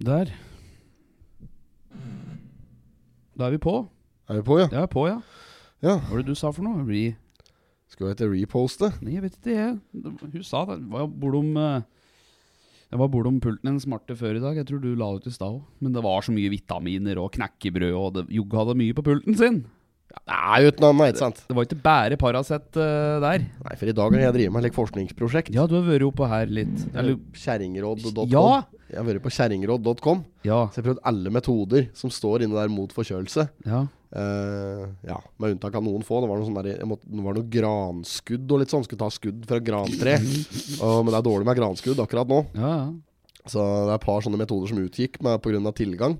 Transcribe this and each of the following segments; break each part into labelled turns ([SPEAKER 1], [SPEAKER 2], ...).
[SPEAKER 1] Der. Da er vi på.
[SPEAKER 2] Er vi på, ja?
[SPEAKER 1] Ja, på, ja.
[SPEAKER 2] Ja.
[SPEAKER 1] Hva var det du sa for noe? Re...
[SPEAKER 2] Skal vi til reposte?
[SPEAKER 1] Nei, jeg vet ikke, jeg. Det- Hun sa det. Det var bordom eh, Det var bordom pulten en smarte før i dag. Jeg tror du la ut i stad òg. Men det var så mye vitaminer og knekkebrød, og det- Jogge hadde mye på pulten sin.
[SPEAKER 2] Nei, uten annet, ikke sant?
[SPEAKER 1] Det var ikke bare Paracet eh, der.
[SPEAKER 2] Nei, for i dag har jeg drevet med et like, forskningsprosjekt.
[SPEAKER 1] Ja, du har vært oppå her litt. Eller
[SPEAKER 2] Kjerringråd.com.
[SPEAKER 1] Ja!
[SPEAKER 2] Jeg har vært på kjerringråd.com.
[SPEAKER 1] Ja.
[SPEAKER 2] Så jeg har prøvd alle metoder som står inne der mot forkjølelse.
[SPEAKER 1] ja.
[SPEAKER 2] Eh, ja, med unntak av noen få. Det var noe, sånn der, jeg måtte, det var noe granskudd og litt sånn. Skulle ta skudd fra grantre. Og, men det er dårlig med granskudd akkurat nå.
[SPEAKER 1] Ja, ja.
[SPEAKER 2] Så det er et par sånne metoder som utgikk pga. tilgang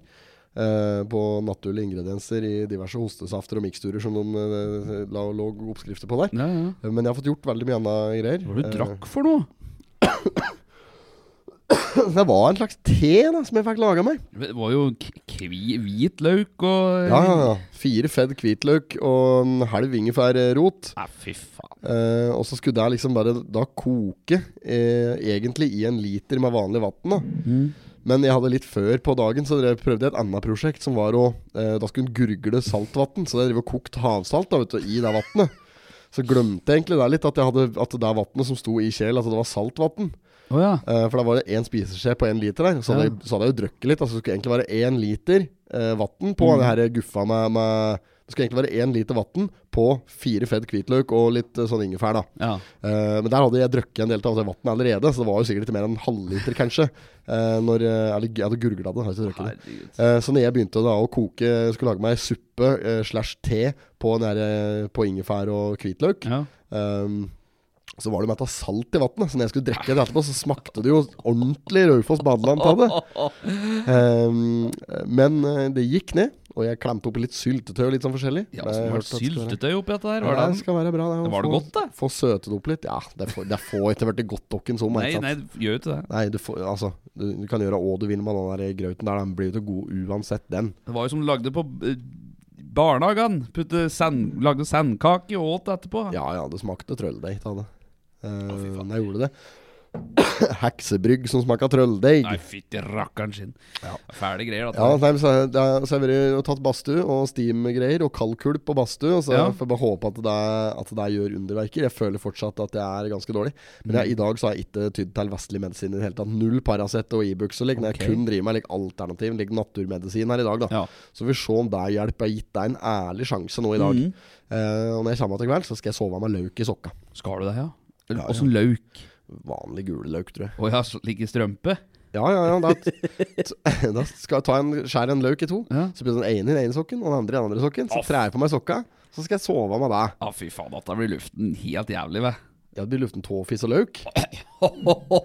[SPEAKER 2] eh, på naturlige ingredienser i diverse hostesafter og miksturer som de eh, la, lå oppskrifter på der.
[SPEAKER 1] ja, ja.
[SPEAKER 2] Eh, Men jeg har fått gjort veldig mye annet greier.
[SPEAKER 1] Hva var det
[SPEAKER 2] Eh,
[SPEAKER 1] du drakk for noe?
[SPEAKER 2] Det var en slags te da, som jeg fikk laga meg.
[SPEAKER 1] Det var jo k kvi, hvitløk og
[SPEAKER 2] Ja, ja, ja. Fire fedd hvitløk og en halv ingefærrot.
[SPEAKER 1] Nei, fy faen.
[SPEAKER 2] Eh, og så skulle jeg liksom bare da koke eh, egentlig i en liter med vanlig vann. da. Men jeg hadde litt før på dagen, så drev- prøvde jeg et annet prosjekt som var å eh, Da skulle en gurgle saltvann, så jeg drev og kokte havsalt da, vet du, i det vannet. Så glemte jeg egentlig det litt, at, jeg hadde, at det vannet som sto i kjelen, at det var saltvann.
[SPEAKER 1] Å ja.
[SPEAKER 2] Eh, for da var det én spiseskje på én liter der. Så hadde,
[SPEAKER 1] Ja.
[SPEAKER 2] jeg, så hadde jeg jo drukket litt. Altså, det skulle egentlig være én liter eh, vann
[SPEAKER 1] Mm.
[SPEAKER 2] på det her guffa med, med Det skulle egentlig være én liter vann på fire fedd hvitløk og litt eh, sånn ingefær, da.
[SPEAKER 1] ja.
[SPEAKER 2] Eh, men der hadde jeg drukket en del av det vannet allerede, så det var jo sikkert ikke mer enn en halvliter, kanskje. eh, når, eh, eller jeg hadde gurgla det. Har ikke drukket det.
[SPEAKER 1] Herregud.
[SPEAKER 2] Eh, Så når jeg begynte da å koke Skulle lage meg suppe eh, slash te på, den der, eh, på ingefær og hvitløk,
[SPEAKER 1] Ja.
[SPEAKER 2] Ehm, så var det metta salt i vannet, så når jeg skulle drikke det etterpå, så smakte det jo ordentlig Raufoss badeland av det. Ehm, men eh, det gikk ned, og jeg klemte oppi litt syltetøy og litt sånn forskjellig.
[SPEAKER 1] Ja,
[SPEAKER 2] Jeg
[SPEAKER 1] så var det
[SPEAKER 2] hørte at det skulle være-
[SPEAKER 1] syltetøy oppi dette her. Var
[SPEAKER 2] Ja,
[SPEAKER 1] det
[SPEAKER 2] det skal være bra. Det, å
[SPEAKER 1] Var det
[SPEAKER 2] få-
[SPEAKER 1] godt, det?
[SPEAKER 2] Få søtet opp litt. Ja, det får, det får etter hvert godt nok en som.
[SPEAKER 1] Nei, nei, det gjør jo ikke det.
[SPEAKER 2] Nei, du, får, altså, du, du kan gjøre hva du vil med den der grauten der. Den blir jo til god uansett, den.
[SPEAKER 1] Det var jo som du lagde på eh, barnehagen. Putte sand, lagde sandkake og åt etterpå.
[SPEAKER 2] Ja ja, det smakte trølldeig av det. Uh, nei, gjorde det. Heksebrygg som smaker trølldeig.
[SPEAKER 1] Nei, fytti rakkeren sin.
[SPEAKER 2] Ja.
[SPEAKER 1] Fæle greier,
[SPEAKER 2] Ja,
[SPEAKER 1] dette.
[SPEAKER 2] nei, men så har jeg- da- så har jeg vært og tatt badstue og steam-greier og kaldkulp på badstue. Og så
[SPEAKER 1] Ja.
[SPEAKER 2] får jeg bare håpe at det, er- at det der gjør underverker. Jeg føler fortsatt at jeg er ganske dårlig. Men jeg, i dag så har jeg ikke tydd til vestlig medisin i det hele tatt. Null Paracet og Ibux og lik. når Jeg
[SPEAKER 1] Ok.
[SPEAKER 2] kun driver med like, alternativ like, naturmedisin her i dag, da.
[SPEAKER 1] Ja.
[SPEAKER 2] Så vi får se om det hjelper. Jeg har gitt deg en ærlig sjanse nå i dag.
[SPEAKER 1] Mhm.
[SPEAKER 2] Eh, og når jeg kommer til kveld, så skal jeg sove med løk i sokka.
[SPEAKER 1] Skal du det, ja?
[SPEAKER 2] Ja,
[SPEAKER 1] Eller
[SPEAKER 2] ja.
[SPEAKER 1] Åssen løk?
[SPEAKER 2] Vanlig gul løk, tror jeg.
[SPEAKER 1] Å ja, så- like strømpe?
[SPEAKER 2] Ja, ja, ja. Da, t- da skal jeg ta en, skjære en løk i to.
[SPEAKER 1] Ja.
[SPEAKER 2] Så blir det den ene i den ene sokken, og den andre i den andre sokken. Så
[SPEAKER 1] Aff.
[SPEAKER 2] trer jeg på meg sokka, så skal jeg sove med deg.
[SPEAKER 1] Å, fy faen, dette blir luften helt jævlig, ve.
[SPEAKER 2] Ja, det blir luften tåfis og løk.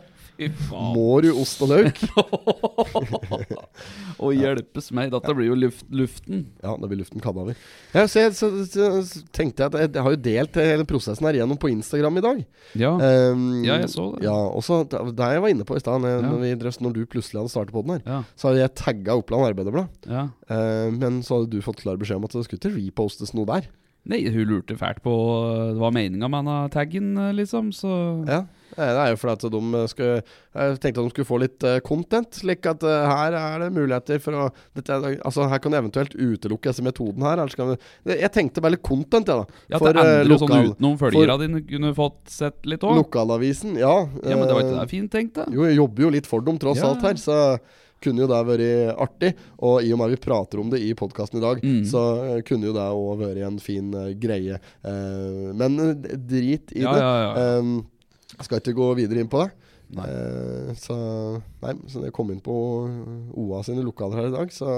[SPEAKER 1] Fy faen.
[SPEAKER 2] Må du ost og løk?
[SPEAKER 1] Å hjelpes meg, dette blir jo luft, luften.
[SPEAKER 2] Ja, det blir luften kadaver. Ja, så, jeg- så, så, så tenkte jeg at jeg, jeg har jo delt hele prosessen her gjennom på Instagram i dag.
[SPEAKER 1] Ja.
[SPEAKER 2] Ehm,
[SPEAKER 1] Ja, jeg så det.
[SPEAKER 2] Ja, og så da- da jeg var inne på i stad, når,
[SPEAKER 1] Ja.
[SPEAKER 2] når vi drøftet- når du plutselig hadde startet på den her,
[SPEAKER 1] Ja.
[SPEAKER 2] så hadde jeg tagga Oppland Arbeiderblad.
[SPEAKER 1] ja.
[SPEAKER 2] Ehm, men så hadde du fått klar beskjed om at det skulle ikke repostes noe der.
[SPEAKER 1] Nei, hun lurte fælt på øh, hva meninga med denne taggen, øh, liksom, så
[SPEAKER 2] Ja, eh, det er jo fordi at de eh, skulle Jeg tenkte at de skulle få litt eh, content. Slik at eh, her er det muligheter for å dette, er- Altså Her kan du eventuelt utelukke disse metoden her. Eller så kan vi, jeg tenkte bare litt content, jeg, da.
[SPEAKER 1] Ja,
[SPEAKER 2] for
[SPEAKER 1] det
[SPEAKER 2] eh,
[SPEAKER 1] endrer sånn
[SPEAKER 2] lokal,
[SPEAKER 1] utenom følgerne dine kunne fått sett litt òg.
[SPEAKER 2] lokalavisen. Ja,
[SPEAKER 1] Ja, men det var ikke
[SPEAKER 2] eh,
[SPEAKER 1] det fint tenkt, da.
[SPEAKER 2] Jo, jeg jobber jo litt for dem tross
[SPEAKER 1] Ja.
[SPEAKER 2] alt her, så kunne jo det vært artig. Og i og med vi prater om det i podkasten i dag,
[SPEAKER 1] Mm.
[SPEAKER 2] så eh, kunne jo det òg vært en fin eh, greie. Eh, men eh, drit i
[SPEAKER 1] Ja, ja,
[SPEAKER 2] det. Eh,
[SPEAKER 1] ja.
[SPEAKER 2] Em, Ehm, skal ikke gå videre inn på det.
[SPEAKER 1] Nei.
[SPEAKER 2] Eh, så nei, så når jeg kom inn på OA sine lokaler her i dag, så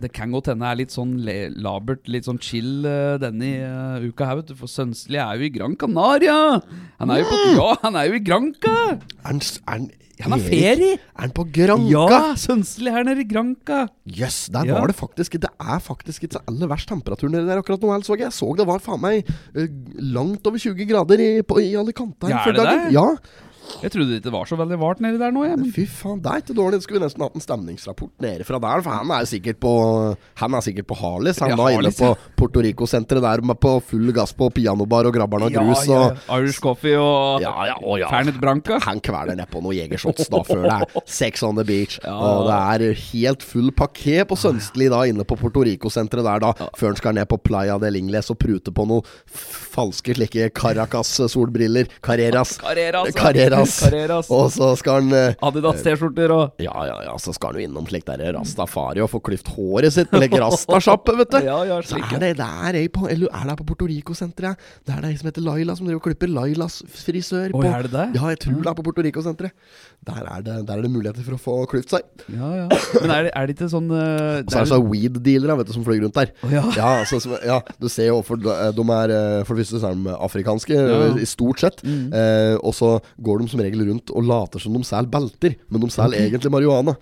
[SPEAKER 1] Det kan godt hende det er litt sånn le labert, litt sånn chill eh, denne eh, uka her, vet du. For Sønsli er jo i Gran Canaria! Han er jo, på, ja, han er jo i Granca!
[SPEAKER 2] Er han, s- er han,
[SPEAKER 1] Han har
[SPEAKER 2] Erik,
[SPEAKER 1] ferie!
[SPEAKER 2] Er han på Granca?
[SPEAKER 1] Ja, Sønsli er nede i Granca!
[SPEAKER 2] Jøss, der
[SPEAKER 1] Ja.
[SPEAKER 2] var det faktisk Det er faktisk ikke så aller verst temperatur nede der akkurat nå. Else Våge. Jeg så det var faen meg eh, langt over 20 grader i, på, i Alicante her
[SPEAKER 1] Ja, er
[SPEAKER 2] før
[SPEAKER 1] det
[SPEAKER 2] dagen.
[SPEAKER 1] det?
[SPEAKER 2] Ja,
[SPEAKER 1] Jeg trodde ikke det var så veldig vart nedi der nå, jeg. Men
[SPEAKER 2] fy faen, det er ikke dårlig. Skulle vi nesten hatt en stemningsrapport nede fra der, for han er jo sikkert på Han er sikkert på Harleys. Han
[SPEAKER 1] Ja,
[SPEAKER 2] var inne
[SPEAKER 1] Harleys,
[SPEAKER 2] på Porto Rico-senteret der med på full gass på pianobar og grabber'n og grus.
[SPEAKER 1] ja,
[SPEAKER 2] og
[SPEAKER 1] ja. Irish coffee og
[SPEAKER 2] Ja, ja, å ja.
[SPEAKER 1] Fernet Branca.
[SPEAKER 2] Han kveler nedpå noen jegershots da før det er sex on the beach. Og det er helt full pakké på Sønstli da inne på Porto Rico-senteret der da, før han skal ned på Playa del Ingles og prute på noen f- falske slike Caracas-solbriller. Carreras.
[SPEAKER 1] Carreras, ja.
[SPEAKER 2] Carreras.
[SPEAKER 1] Carreras.
[SPEAKER 2] Og så skal han eh,
[SPEAKER 1] Adidas-T-skjorter og
[SPEAKER 2] ja, ja, ja, så skal han jo innom slik der rastafari og få klyft håret sitt med like rastasjappe, vet du.
[SPEAKER 1] Ja, ja,
[SPEAKER 2] så
[SPEAKER 1] slik,
[SPEAKER 2] er det der ei på Eller er det på Porto Rico-senteret? Det er det ei som heter Laila, som driver og klipper Lailas frisør
[SPEAKER 1] Oi,
[SPEAKER 2] på
[SPEAKER 1] er det det?
[SPEAKER 2] Ja, jeg tror det er på Porto Rico-senteret. Der, er det- der er det muligheter for å få klyft seg.
[SPEAKER 1] Ja, ja. Men er det, er det ikke sånn eh,
[SPEAKER 2] Og så er det sånne weed-dealere vet du, som flyr rundt der.
[SPEAKER 1] Å, ja.
[SPEAKER 2] altså, som- ja, du ser jo hvorfor de de er eh, For det første så er de afrikanske, eh, i stort sett.
[SPEAKER 1] Mm.
[SPEAKER 2] Eh, og så går de som regel rundt og later som de selger belter, men de selger egentlig marihuana.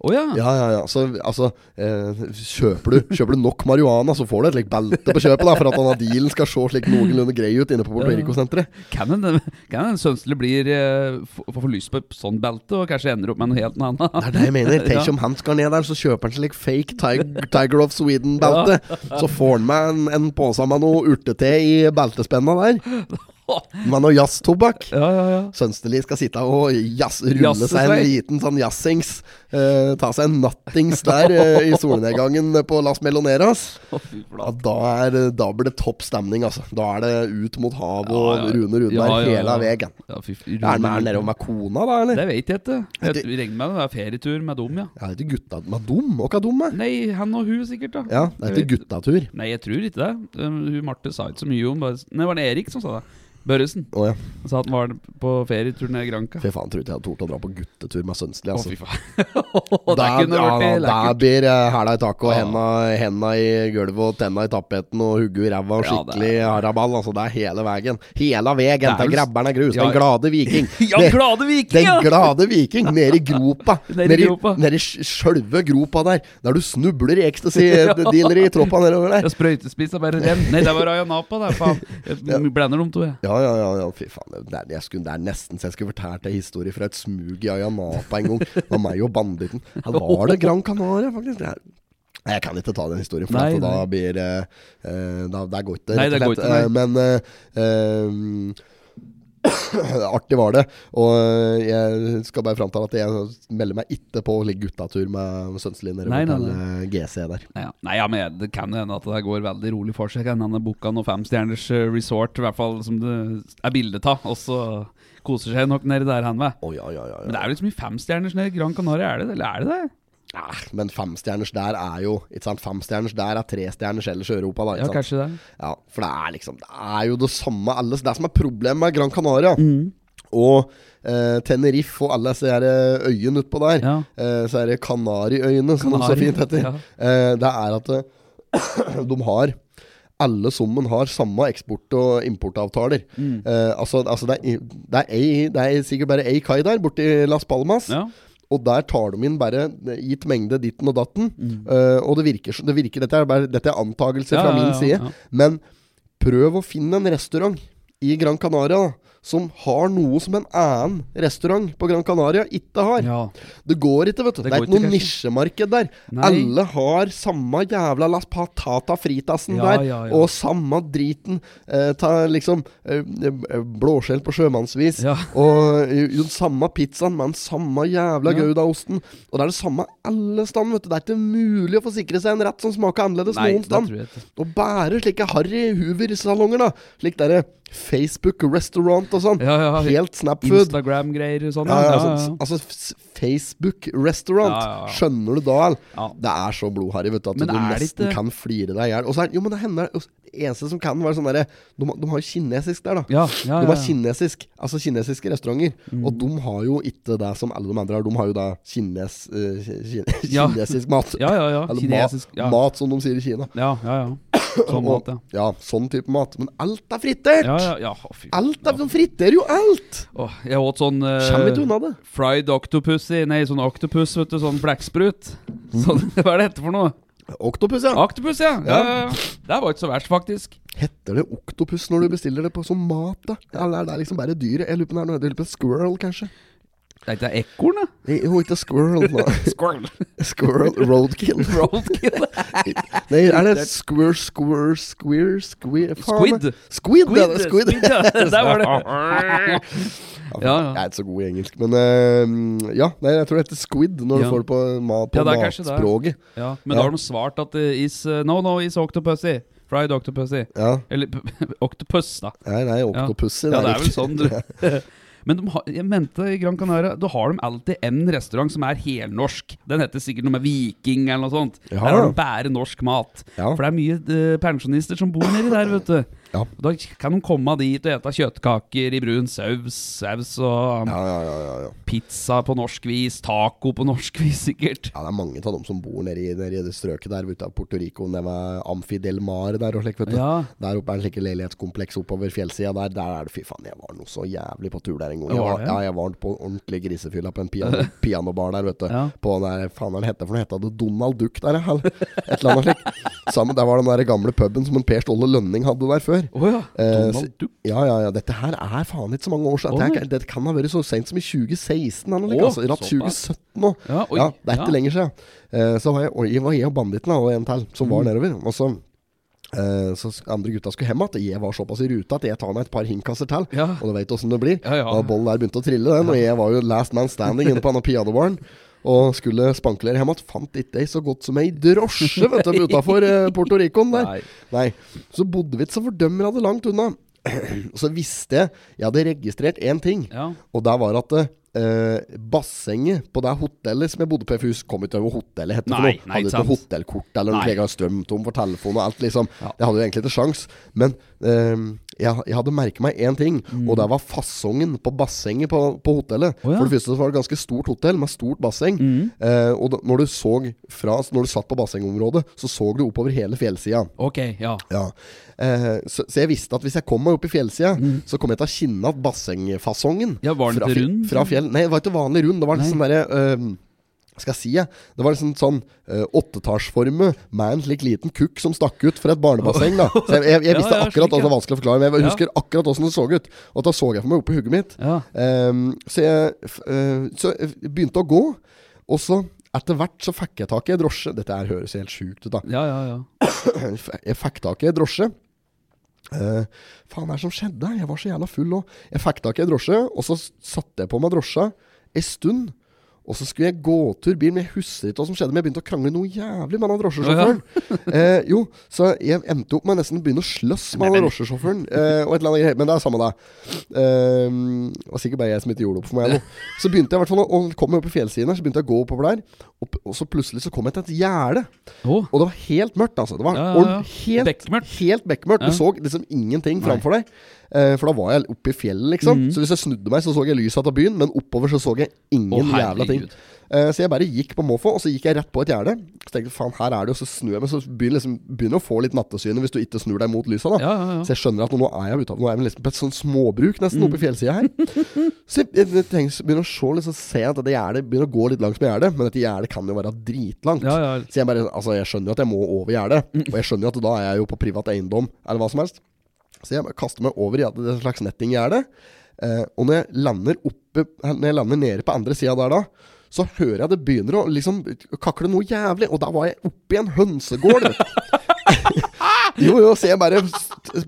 [SPEAKER 1] Å ja.
[SPEAKER 2] Ja, ja, ja. Så altså, eh, kjøper, du, kjøper du nok marihuana, så får du et slikt belte på kjøpet da, for at denne dealen skal se slik noenlunde grei ut inne på Porto Rico-senteret.
[SPEAKER 1] Kan en, kan en Sønsli blir eh, få, få lyst på et sånt belte, og kanskje ender opp med noe helt annet?
[SPEAKER 2] Det er det jeg mener. Tenk
[SPEAKER 1] Ja.
[SPEAKER 2] om han skal ned der, så kjøper han slik fake Tig- Tiger of Sweden-belte. Så får han med en, en pose med noe urtete i beltespenna der. Med noe jazztobakk.
[SPEAKER 1] Ja, ja, ja.
[SPEAKER 2] Sønsterli skal sitte og jazz, rulle
[SPEAKER 1] Jazze
[SPEAKER 2] seg en
[SPEAKER 1] seg.
[SPEAKER 2] liten sånn jazzings. eh, ta seg en nattings der eh, i solnedgangen på Las Meloneras.
[SPEAKER 1] Å, fy
[SPEAKER 2] Ja,
[SPEAKER 1] flate.
[SPEAKER 2] da, er, da blir det topp stemning, altså. Da er det ut mot havet og
[SPEAKER 1] Ja, ja.
[SPEAKER 2] Rune Rudberg
[SPEAKER 1] Ja, ja, ja.
[SPEAKER 2] hele veien.
[SPEAKER 1] Ja, fy, fy,
[SPEAKER 2] Er han er han nede med kona, da, eller?
[SPEAKER 1] Det vet jeg ikke. Jeg tror- regner med det er ferietur med dem, ja.
[SPEAKER 2] Ja, det er ikke gutta med dum? Hva er dum, da?
[SPEAKER 1] Nei, han og hun sikkert, da.
[SPEAKER 2] Ja, det er
[SPEAKER 1] Jeg
[SPEAKER 2] ikke
[SPEAKER 1] vet-
[SPEAKER 2] guttatur.
[SPEAKER 1] Nei, jeg tror ikke det. Um, Hun Marte sa ikke så mye om bare, Nei, var det Erik som sa det? Børresen.
[SPEAKER 2] Å ja.
[SPEAKER 1] Han sa at han var på ferietur nede i Granca.
[SPEAKER 2] Fy faen, trodde jeg hadde tort å dra på guttetur med Sønstli,
[SPEAKER 1] Å, fy
[SPEAKER 2] altså.
[SPEAKER 1] faen. det
[SPEAKER 2] Der,
[SPEAKER 1] kunne vært
[SPEAKER 2] ja,
[SPEAKER 1] i
[SPEAKER 2] der
[SPEAKER 1] lekkert.
[SPEAKER 2] blir eh, hæla i taket og
[SPEAKER 1] Ja.
[SPEAKER 2] henda, henda i gulvet og tenna i tapeten og hugget i ræva og
[SPEAKER 1] Ja, det er-
[SPEAKER 2] skikkelig haraball. Altså, det er hele veien. Hele veien
[SPEAKER 1] er
[SPEAKER 2] til
[SPEAKER 1] vel-
[SPEAKER 2] grabberen er grus.
[SPEAKER 1] Ja,
[SPEAKER 2] Den glade viking.
[SPEAKER 1] Ja,
[SPEAKER 2] Det-
[SPEAKER 1] glade viking,
[SPEAKER 2] Den
[SPEAKER 1] ja!
[SPEAKER 2] glade viking nede i gropa.
[SPEAKER 1] Nede i
[SPEAKER 2] Nede i-
[SPEAKER 1] gropa.
[SPEAKER 2] Nede i sj- sjølve gropa der. Der du snubler i ecstasy-dealer i troppa nedover der.
[SPEAKER 1] Jeg sprøytespissa bare den. Nei, det var Raya Napa, det. Faen. Jeg blander de to, jeg.
[SPEAKER 2] Ja, ja, ja, ja. fy faen. Det er, jeg skulle, det er nesten så jeg skulle fortalt en historie fra et smug i Ayanapa en gang. Det var meg og banditten. Her var det Gran Canaria, faktisk. Det er, Nei, jeg kan ikke ta den historien, for
[SPEAKER 1] Nei,
[SPEAKER 2] at da
[SPEAKER 1] nei.
[SPEAKER 2] blir eh, eh, da, Det er godt, det.
[SPEAKER 1] Nei,
[SPEAKER 2] rett og
[SPEAKER 1] det går
[SPEAKER 2] slett.
[SPEAKER 1] ikke, nei.
[SPEAKER 2] Eh, Men eh, eh, Artig var det. Og eh, jeg skal bare framtale at jeg melder meg ikke på litt guttatur med Sønselin nede
[SPEAKER 1] Nei,
[SPEAKER 2] på
[SPEAKER 1] nei,
[SPEAKER 2] eh, GC der.
[SPEAKER 1] Ja. Nei, ja, men jeg- det kan jo hende at det går veldig rolig for seg. Han har booka noe femstjerners eh, resort, i hvert fall som det er bilde av, og så koser seg nok nedi der han med.
[SPEAKER 2] Å ja, ja, ja, ja.
[SPEAKER 1] Men det er vel ikke så mye femstjerners nede i Gran Canaria, er det det? Eller er det det?
[SPEAKER 2] Ah, men femstjerners der er jo Ikke sant, femstjerners der er trestjerners ellers i Europa, da. Ikke
[SPEAKER 1] Ja,
[SPEAKER 2] sant?
[SPEAKER 1] kanskje det.
[SPEAKER 2] Ja, for det er liksom Det er jo det samme alle Det som er problemet med Gran Canaria
[SPEAKER 1] Mm.
[SPEAKER 2] Og eh, Tenerife og alle disse her, eh, øyene utpå der
[SPEAKER 1] Ja.
[SPEAKER 2] eh, Så er det Kanariøyene Som det så
[SPEAKER 1] Kanari,
[SPEAKER 2] fint heter
[SPEAKER 1] ja.
[SPEAKER 2] eh, Det er at eh, de har alle sammen har samme eksport- og importavtaler.
[SPEAKER 1] Mm.
[SPEAKER 2] Eh, altså, altså det, er, det, er ei, det er sikkert bare ei kai der, borti Las Palmas.
[SPEAKER 1] Ja.
[SPEAKER 2] Og der tar de inn bare eh, gitt mengde ditten og datten. eh, og det virker, så- det virker Dette er, bare, dette er antakelser
[SPEAKER 1] Ja,
[SPEAKER 2] fra
[SPEAKER 1] ja,
[SPEAKER 2] min
[SPEAKER 1] ja,
[SPEAKER 2] side.
[SPEAKER 1] ja.
[SPEAKER 2] Men prøv å finne en restaurant i Gran Canaria da, som har noe som en annen restaurant på Gran Canaria ikke har.
[SPEAKER 1] ja.
[SPEAKER 2] Det går ikke, vet du. Det,
[SPEAKER 1] Det
[SPEAKER 2] er
[SPEAKER 1] går
[SPEAKER 2] ikke noe
[SPEAKER 1] ikke,
[SPEAKER 2] nisjemarked der.
[SPEAKER 1] Nei.
[SPEAKER 2] Alle har samme jævla las patata fritasen
[SPEAKER 1] Ja,
[SPEAKER 2] der,
[SPEAKER 1] ja, ja.
[SPEAKER 2] og samme driten. Eh, ta liksom eh, eh, blåskjell på sjømannsvis,
[SPEAKER 1] Ja.
[SPEAKER 2] og eh, den samme pizzaen med den samme jævla
[SPEAKER 1] Ja.
[SPEAKER 2] goudaosten. Og det er det samme alle steder, vet du. Det er ikke mulig å få sikre seg en rett som smaker annerledes
[SPEAKER 1] Nei, det
[SPEAKER 2] noen sted.
[SPEAKER 1] tror jeg ikke.
[SPEAKER 2] Og bærer slike harry hoover-salonger, da. Slik derre Facebook restaurant og sånn.
[SPEAKER 1] Ja, ja,
[SPEAKER 2] Helt Snapfood.
[SPEAKER 1] Instagram-greier og sånn.
[SPEAKER 2] Ja, ja, altså,
[SPEAKER 1] ja, ja.
[SPEAKER 2] altså s- Facebook restaurant.
[SPEAKER 1] Ja, ja, ja.
[SPEAKER 2] Skjønner du da? eller?
[SPEAKER 1] Ja.
[SPEAKER 2] Det er så blodharry vet du, at
[SPEAKER 1] Men
[SPEAKER 2] du
[SPEAKER 1] er det
[SPEAKER 2] nesten
[SPEAKER 1] ikke-
[SPEAKER 2] kan flire deg i hjel. Og så er- Jo, men det hender altså, Det eneste som kan, være sånn derre de, de har jo kinesisk der, da.
[SPEAKER 1] Ja, ja,
[SPEAKER 2] De
[SPEAKER 1] ja, ja.
[SPEAKER 2] har
[SPEAKER 1] Mm.
[SPEAKER 2] kinesisk, altså kinesiske restauranter. Og de har jo ikke det som alle de andre har. De har jo da kines, eh, ki-
[SPEAKER 1] Ja.
[SPEAKER 2] kinesisk mat.
[SPEAKER 1] Ja, ja, ja.
[SPEAKER 2] Eller
[SPEAKER 1] Kinesisk,
[SPEAKER 2] ma
[SPEAKER 1] ja.
[SPEAKER 2] mat, som de sier i Kina.
[SPEAKER 1] Ja, ja, ja. Sånn mat,
[SPEAKER 2] Og-
[SPEAKER 1] ja.
[SPEAKER 2] ja, sånn type mat. Men alt er fritert!
[SPEAKER 1] Ja, ja, ja. Å, fy.
[SPEAKER 2] Alt er, De friterer jo alt!
[SPEAKER 1] Åh, jeg åt sånn eh,
[SPEAKER 2] Kommer ikke unna det.
[SPEAKER 1] fried octopus i Nei, sånn octopus, vet du. Sånn blekksprut. Sånn, hva er det hette for noe?
[SPEAKER 2] Oktopus, ja.
[SPEAKER 1] Octopus, ja. ja, ja, ja. Det var ikke så verst, faktisk.
[SPEAKER 2] Heter det oktopus når du bestiller det på som mat, da? Eller er det liksom bare dyret? Jeg lurer på om det er noe- jeg lurer på en squirrel, kanskje?
[SPEAKER 1] Det er ikke ekorn, da.
[SPEAKER 2] Nei, Jo, ikke squirrel, da.
[SPEAKER 1] Squirrel.
[SPEAKER 2] Squirrel roadkill.
[SPEAKER 1] Roadkill.
[SPEAKER 2] Nei, er det squir, squir, squir, squir faen,
[SPEAKER 1] Squid.
[SPEAKER 2] det. Squid, ja, det er squid.
[SPEAKER 1] Squid, ja. Der var det. Ja,
[SPEAKER 2] Jeg
[SPEAKER 1] ja.
[SPEAKER 2] er ikke så god i engelsk, men eh, ja. Nei, jeg tror det heter squid
[SPEAKER 1] Ja.
[SPEAKER 2] når du får det på, mat, på
[SPEAKER 1] Ja, det er kanskje det.
[SPEAKER 2] matspråket.
[SPEAKER 1] ja. Men
[SPEAKER 2] Ja.
[SPEAKER 1] da har de svart at det is eh, No, no, is octopussy. Fried octopussy.
[SPEAKER 2] Ja.
[SPEAKER 1] Eller octopus, da.
[SPEAKER 2] Nei, nei, oktopusser.
[SPEAKER 1] Ja, det er vel
[SPEAKER 2] riktig.
[SPEAKER 1] sånn, du. Men de har, jeg mente i Gran Canaria Da har de alltid en restaurant som er helnorsk. Den heter sikkert noe med Viking eller noe sånt.
[SPEAKER 2] Ja.
[SPEAKER 1] Der har de bare norsk mat.
[SPEAKER 2] Ja.
[SPEAKER 1] For det er mye eh, pensjonister som bor nedi der, vet du.
[SPEAKER 2] Ja.
[SPEAKER 1] Og Da kan de komme dit og ete kjøttkaker i brun saus, saus og um,
[SPEAKER 2] Ja, ja, ja, ja, ja.
[SPEAKER 1] pizza på norsk vis, taco på norsk vis, sikkert.
[SPEAKER 2] Ja, det er mange av dem som bor nede i, nede i det strøket der ute av Puerto Rico. Det var Amfidel Mar der og slik, vet du.
[SPEAKER 1] Ja.
[SPEAKER 2] Der oppe er en slik leilighetskompleks oppover fjellsida der. Der er det Fy faen, jeg var noe så jævlig på tur der en gang. Jeg
[SPEAKER 1] Var
[SPEAKER 2] var,
[SPEAKER 1] det?
[SPEAKER 2] ja, jeg var på ordentlig grisefylla på en piano, pianobar der, vet du.
[SPEAKER 1] Ja.
[SPEAKER 2] På den der Faen, hva hette for noe? Hette det Donald Duck der, eller et eller annet slikt? Sammen, der var den der gamle puben som en Per Ståle Lønning hadde der før.
[SPEAKER 1] Å ja.
[SPEAKER 2] Eh,
[SPEAKER 1] Donald Duck.
[SPEAKER 2] Ja, ja, ja. Dette her er faen ikke så mange år siden.
[SPEAKER 1] Å,
[SPEAKER 2] Dette,
[SPEAKER 1] nei.
[SPEAKER 2] her, dette kan ha vært så seint som i 2016. Eller, noe,
[SPEAKER 1] Å,
[SPEAKER 2] altså, Ratt
[SPEAKER 1] såpass.
[SPEAKER 2] 2017 nå.
[SPEAKER 1] Ja, oi,
[SPEAKER 2] ja, det er ikke
[SPEAKER 1] ja.
[SPEAKER 2] lenger siden. Eh, så var jeg, og jeg var jeg og banditten da, og en til som
[SPEAKER 1] Mm.
[SPEAKER 2] var nedover. Og så eh, så sk- andre gutta skulle hjem igjen. Jeg var såpass i rute at jeg tar meg et par hinkasser til.
[SPEAKER 1] Ja.
[SPEAKER 2] Og du veit åssen det blir.
[SPEAKER 1] Ja, ja.
[SPEAKER 2] Da bollen der begynte å trille, den, og jeg var jo last man standing inne på denne pianobaren. Og skulle spankulere hjem igjen. Fant ikke ei så godt som ei drosje vet du, utafor Porto Ricoen der.
[SPEAKER 1] Nei.
[SPEAKER 2] Nei. Så bodde vi ikke så fordømmer av det langt unna. Og så visste jeg Jeg hadde registrert én ting,
[SPEAKER 1] Ja.
[SPEAKER 2] og det var at eh, bassenget på det hotellet som jeg bodde på i Fus, kom ikke over hotellet, het det for
[SPEAKER 1] Nei,
[SPEAKER 2] noe.
[SPEAKER 1] nei,
[SPEAKER 2] Hadde
[SPEAKER 1] ikke
[SPEAKER 2] ikke
[SPEAKER 1] sant.
[SPEAKER 2] noe hotellkort eller noe,
[SPEAKER 1] Nei.
[SPEAKER 2] slik, jeg hadde strøm tom for telefon og alt, liksom.
[SPEAKER 1] Ja.
[SPEAKER 2] Jeg hadde jo egentlig ikke sjans, men eh, jeg, jeg hadde merket meg én ting, og det var fasongen på bassenget på, på hotellet.
[SPEAKER 1] Mm. Å, ja. Mm.
[SPEAKER 2] For det første så var det et ganske stort hotell med stort basseng, eh, og da, når du så fra Når du satt på bassengområdet, så så du oppover hele fjellsida.
[SPEAKER 1] Ok, ja.
[SPEAKER 2] Ja. Eh, så, så jeg visste at hvis jeg kom meg opp i fjellsida, så kom jeg til å kjenne at bassengfasongen
[SPEAKER 1] Mm. Ja, var den
[SPEAKER 2] fra,
[SPEAKER 1] ikke
[SPEAKER 2] fje-
[SPEAKER 1] rund?
[SPEAKER 2] Fra fjell, nei, det var ikke vanlig rund. Det var liksom derre eh, skal jeg si jeg? Det var liksom sånn eh, åttetallsforme med en slik liten kukk som stakk ut fra et barnebasseng. da Så jeg, jeg, jeg
[SPEAKER 1] Ja,
[SPEAKER 2] visste
[SPEAKER 1] ja,
[SPEAKER 2] akkurat
[SPEAKER 1] slik,
[SPEAKER 2] altså,
[SPEAKER 1] ja.
[SPEAKER 2] vanskelig å forklare, men jeg
[SPEAKER 1] Ja.
[SPEAKER 2] husker akkurat åssen det så ut. Og da så jeg for meg oppi hugget mitt.
[SPEAKER 1] Ja.
[SPEAKER 2] Ehm, så, jeg, f- eh, så jeg begynte å gå, og så etter hvert så fikk jeg tak i en drosje. Dette her høres helt sjukt ut, da.
[SPEAKER 1] Ja, ja, ja.
[SPEAKER 2] Jeg fikk tak i en drosje. Eh, faen, hva er det som skjedde? Jeg var så jævla full òg. Jeg fikk tak i en drosje, og så s- satte jeg på meg drosja ei stund. Og så skulle jeg gåtur bil, men jeg husker ikke hva som skjedde. Men jeg begynte å krangle noe jævlig med den drosjesjåføren. eh, jo, så jeg endte opp med nesten å begynne å slåss med den drosjesjåføren. Eh, og et eller annet greier, Men det er samme det. Eh, det var sikkert bare jeg som ikke gjorde opp for meg. Nå. Så begynte jeg i hvert fall å- å komme opp i fjellsiden her, så begynte jeg å gå oppover der. Og, og så plutselig så kom jeg til et gjerde.
[SPEAKER 1] Å,
[SPEAKER 2] Og det var helt mørkt, altså. Det var
[SPEAKER 1] Ja, ja, ja.
[SPEAKER 2] ordent- helt
[SPEAKER 1] Bekmørkt.
[SPEAKER 2] Helt bekmørkt.
[SPEAKER 1] Ja.
[SPEAKER 2] Du så liksom ingenting framfor deg. Eh, for da var jeg oppe i fjellet, liksom.
[SPEAKER 1] Mhm.
[SPEAKER 2] Så hvis jeg snudde meg, så så jeg lyset av byen, men oppover så så jeg ingen
[SPEAKER 1] Å,
[SPEAKER 2] jævla ting.
[SPEAKER 1] herregud.
[SPEAKER 2] Eh, så jeg bare gikk på måfå, og så gikk jeg rett på et gjerde. Så tenkte jeg faen, her er det jo, så snur jeg meg, så begynner liksom, begynner å få litt nattesyne hvis du ikke snur deg mot lysa, da.
[SPEAKER 1] Ja, ja, ja.
[SPEAKER 2] Så jeg skjønner at nå er jeg ute, nå er jeg liksom på et sånn småbruk nesten oppe i fjellsida her. så jeg, jeg tenker, så begynner å se litt, så ser jeg at dette gjerdet begynner å gå litt langs med gjerdet, men dette gjerdet kan jo være dritlangt.
[SPEAKER 1] Ja, ja.
[SPEAKER 2] Så jeg bare, altså jeg skjønner jo at jeg må over gjerdet, og jeg skjønner jo at da er jeg jo på privat eiendom, eller hva som helst. Så jeg bare kaster meg over gjerdet, det er et slags nettinggjerde. Eh, og når jeg lander oppe Når jeg lander nede på andre sida der da, så hører jeg det begynner å liksom kakle noe jævlig, og da var jeg oppe i en hønsegård. vet du. jo, jo, så jeg bare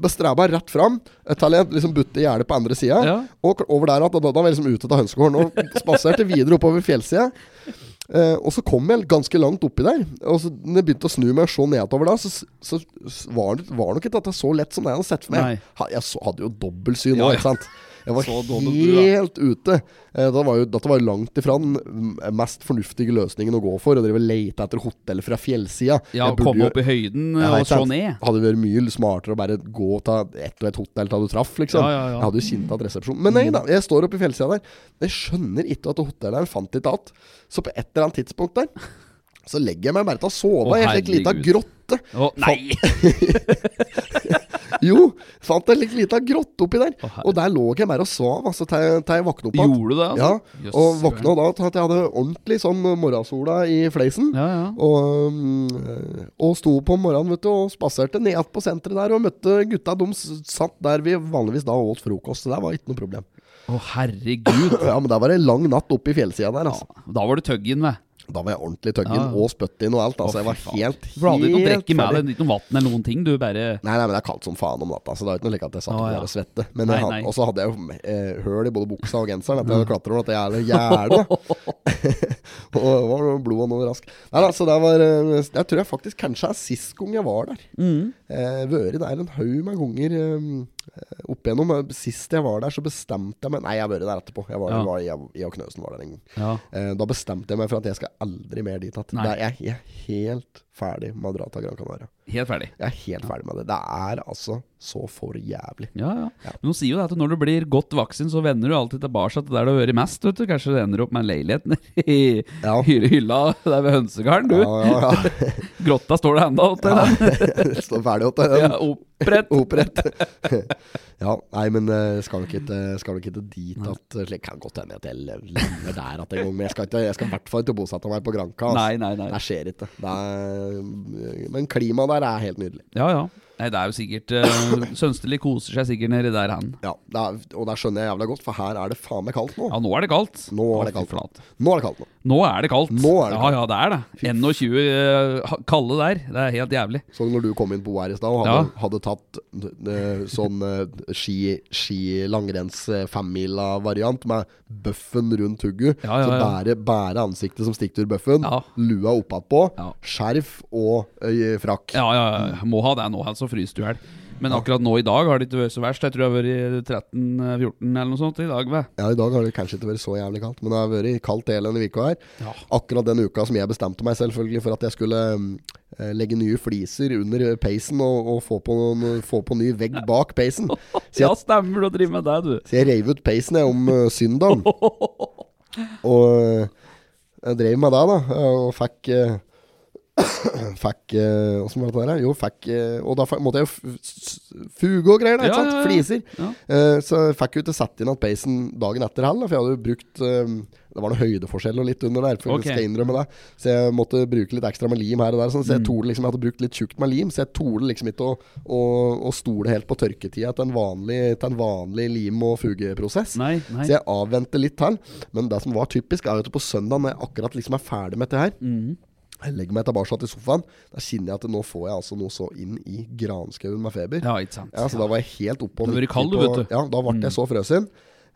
[SPEAKER 2] streba rett fram eh, til jeg liksom butte gjerdet på andre sida.
[SPEAKER 1] Ja.
[SPEAKER 2] Og over der at da, da var jeg liksom ute av hønsegården og spaserte videre oppover fjellsida. Eh, og så kom jeg ganske langt oppi der. Og så når jeg begynte å snu meg og se nedover da, så, så, s- var det var nok ikke dette så lett som jeg hadde sett for
[SPEAKER 1] Nei.
[SPEAKER 2] meg. Ha, jeg så, hadde jo dobbeltsyn nå,
[SPEAKER 1] Ja, ja.
[SPEAKER 2] ikke sant. Jeg var
[SPEAKER 1] Så dobbelt du, da.
[SPEAKER 2] helt ute. Eh, da var jo, dette var jo langt ifra den mm, mest fornuftige løsningen å gå for. Å drive og lete etter hotell fra fjellsida.
[SPEAKER 1] Ja,
[SPEAKER 2] Jeg burde
[SPEAKER 1] komme
[SPEAKER 2] jo-
[SPEAKER 1] opp i høyden eh,
[SPEAKER 2] Jeg vet
[SPEAKER 1] og slå
[SPEAKER 2] sant.
[SPEAKER 1] ned.
[SPEAKER 2] Hadde vært mye smartere å bare gå og ta ett og ett hotell til du traff, liksom.
[SPEAKER 1] Ja, ja, Mm. ja.
[SPEAKER 2] Jeg hadde jo kjent at resepsjonen Men nei da, jeg står oppe i fjellsida der. Jeg skjønner ikke at hotellet her fant ikke att. Så på et eller annet tidspunkt der, så legger jeg meg bare til å
[SPEAKER 1] Å,
[SPEAKER 2] sove. jeg fikk lita
[SPEAKER 1] herregud.
[SPEAKER 2] grotte.
[SPEAKER 1] Å, nei!
[SPEAKER 2] Jo, fant jeg litt lita grotte oppi der.
[SPEAKER 1] Å, herre.
[SPEAKER 2] og der lå jeg bare og sov, altså, til jeg- til jeg våkna opp igjen.
[SPEAKER 1] Gjorde du det,
[SPEAKER 2] Ja,
[SPEAKER 1] altså? Jøss,
[SPEAKER 2] og våkna da til at jeg hadde ordentlig sånn morgensola i fleisen.
[SPEAKER 1] Ja, ja.
[SPEAKER 2] Og, mm, og sto på morgenen vet du, og spaserte ned igjen på senteret der og møtte gutta. De s- satt der vi vanligvis da åt frokost. Det der var ikke noe problem.
[SPEAKER 1] Å, herregud.
[SPEAKER 2] Ja, Men der var det lang natt oppe i fjellsida der. Altså.
[SPEAKER 1] Da var du tøggen, vet
[SPEAKER 2] Da var jeg ordentlig tøggen
[SPEAKER 1] Ja, ja.
[SPEAKER 2] og spytt inn og alt.
[SPEAKER 1] Å,
[SPEAKER 2] Altså, jeg var
[SPEAKER 1] fy faen.
[SPEAKER 2] helt,
[SPEAKER 1] For du hadde ikke noe
[SPEAKER 2] helt
[SPEAKER 1] drikke med
[SPEAKER 2] ferdig.
[SPEAKER 1] deg, ikke noe vann eller noen ting. Du bare
[SPEAKER 2] Nei, nei, men det er kaldt som faen om natta, så det er ikke noe like at jeg satt
[SPEAKER 1] Å,
[SPEAKER 2] og
[SPEAKER 1] ja.
[SPEAKER 2] bare og svette. Men
[SPEAKER 1] Nei,
[SPEAKER 2] jeg hadde,
[SPEAKER 1] nei.
[SPEAKER 2] og så hadde jeg jo eh, høl i både buksa og genseren etter at jeg klatra over dette jævla gjerdet. og det var blodet noe raskt. Nei da, så det var eh, Jeg tror jeg faktisk kanskje er sist gang jeg var der.
[SPEAKER 1] Mm.
[SPEAKER 2] Eh, Vært der en haug med ganger eh, opp igjennom. Eh, Sist jeg var der, så bestemte jeg meg Nei, jeg har vært der etterpå. Jeg var,
[SPEAKER 1] Ja.
[SPEAKER 2] var, jeg, jeg og Knøsen var der en gang.
[SPEAKER 1] Ja.
[SPEAKER 2] Eh, da bestemte jeg meg for at jeg skal aldri mer dit. At
[SPEAKER 1] Nei.
[SPEAKER 2] der, jeg, jeg er helt ferdig med å dra til Gran Canaria.
[SPEAKER 1] Helt ferdig.
[SPEAKER 2] Jeg er helt ferdig med det. Det er altså så for jævlig.
[SPEAKER 1] Ja, ja. Men de sier jo det at når du blir godt voksen, så vender du alltid tilbake til der du har vært mest. vet du. Kanskje du ender opp med en leilighet nede i
[SPEAKER 2] Ja.
[SPEAKER 1] hylle- hylla der ved hønsegarden, du.
[SPEAKER 2] Ja, ja, ja.
[SPEAKER 1] Grotta står det ennå. Ja.
[SPEAKER 2] Det Står ferdig åt det.
[SPEAKER 1] Ja, opprett.
[SPEAKER 2] Opprett. Ja, nei, men eh, skal nok ikke, skal nok ikke dit at Det kan godt hende at jeg lander der at en gang, men jeg skal, ikke, jeg skal i hvert fall ikke bosette meg på Granca. ass.
[SPEAKER 1] Nei, nei, nei.
[SPEAKER 2] Det skjer ikke. Det er, men klimaet der er helt nydelig.
[SPEAKER 1] Ja, ja. Nei, det er jo sikkert eh, Sønstelig koser seg sikkert nedi der, han.
[SPEAKER 2] Ja, det er, Og der skjønner jeg jævla godt, for her er det faen meg kaldt nå.
[SPEAKER 1] Ja, nå er det kaldt.
[SPEAKER 2] Nå er
[SPEAKER 1] Å,
[SPEAKER 2] det
[SPEAKER 1] fy
[SPEAKER 2] kaldt.
[SPEAKER 1] flate.
[SPEAKER 2] Nå er det kaldt nå.
[SPEAKER 1] Nå er det kaldt.
[SPEAKER 2] Nå er det
[SPEAKER 1] ja, ja, det er det. 21 eh, ha- kalde der. Det er helt jævlig.
[SPEAKER 2] Så når du kom inn på her i stad og hadde, hadde tatt eh, sånn eh, ski, ski langrenns eh, femmila-variant med bøffen rundt hugget,
[SPEAKER 1] Ja, ja,
[SPEAKER 2] så
[SPEAKER 1] ja.
[SPEAKER 2] bære, bære ansiktet som stikker ut bøffen,
[SPEAKER 1] Ja.
[SPEAKER 2] lua oppatpå,
[SPEAKER 1] Ja.
[SPEAKER 2] skjerf og eh, frakk.
[SPEAKER 1] Ja, ja, ja. Må ha det nå, ellers så fryser du i hjel. Men akkurat nå i dag har det ikke vært så verst. Jeg tror jeg har vært i 13-14 eller noe sånt i dag. Ve.
[SPEAKER 2] Ja, I dag har det kanskje ikke vært så jævlig kaldt, men det har vært kaldt hele denne uka her.
[SPEAKER 1] Ja.
[SPEAKER 2] Akkurat den uka som jeg bestemte meg selvfølgelig for at jeg skulle mm, eh, legge nye fliser under peisen og, og få, på noen, få på ny vegg bak peisen. Så jeg
[SPEAKER 1] Ja, stemmer, du driver med det, du.
[SPEAKER 2] Så jeg reiv ut peisen jeg om uh, søndagen. Og eh, jeg drev med det, da. eh, Og fikk eh, Fikk eh, Åssen var det der? Jo, fikk eh, Og da fikk, måtte jeg jo f- s- fuge og greier, da.
[SPEAKER 1] Ja,
[SPEAKER 2] Ikke sant?
[SPEAKER 1] ja, ja.
[SPEAKER 2] Fliser.
[SPEAKER 1] Ja.
[SPEAKER 2] Eh, så jeg fikk jo ikke satt inn at peisen dagen etter heller, for jeg hadde jo brukt eh, Det var noe høydeforskjell og litt under der, for
[SPEAKER 1] Ok.
[SPEAKER 2] jeg skal innrømme det. Så jeg måtte bruke litt ekstra med lim her og der. Sånn,
[SPEAKER 1] Mm.
[SPEAKER 2] så jeg torde liksom, jeg hadde brukt litt tjukt med lim, så jeg torde liksom ikke å, å, å stole helt på tørketida til en vanlig, til en vanlig lim- og fugeprosess.
[SPEAKER 1] Nei, nei.
[SPEAKER 2] Så jeg avventer litt til. Men det som var typisk, er jo at på søndag, når jeg akkurat liksom er ferdig med dette her
[SPEAKER 1] Mm.
[SPEAKER 2] Jeg legger meg tilbake til sofaen. Da kjenner jeg at nå får jeg altså noe så inn i granskauen med feber.
[SPEAKER 1] Ja, ikke sant.
[SPEAKER 2] Ja, så da var jeg helt oppe og
[SPEAKER 1] Da var du
[SPEAKER 2] midt i
[SPEAKER 1] kald, du,
[SPEAKER 2] på-
[SPEAKER 1] vet du. Mm.
[SPEAKER 2] Ja, da ble jeg så frøsen.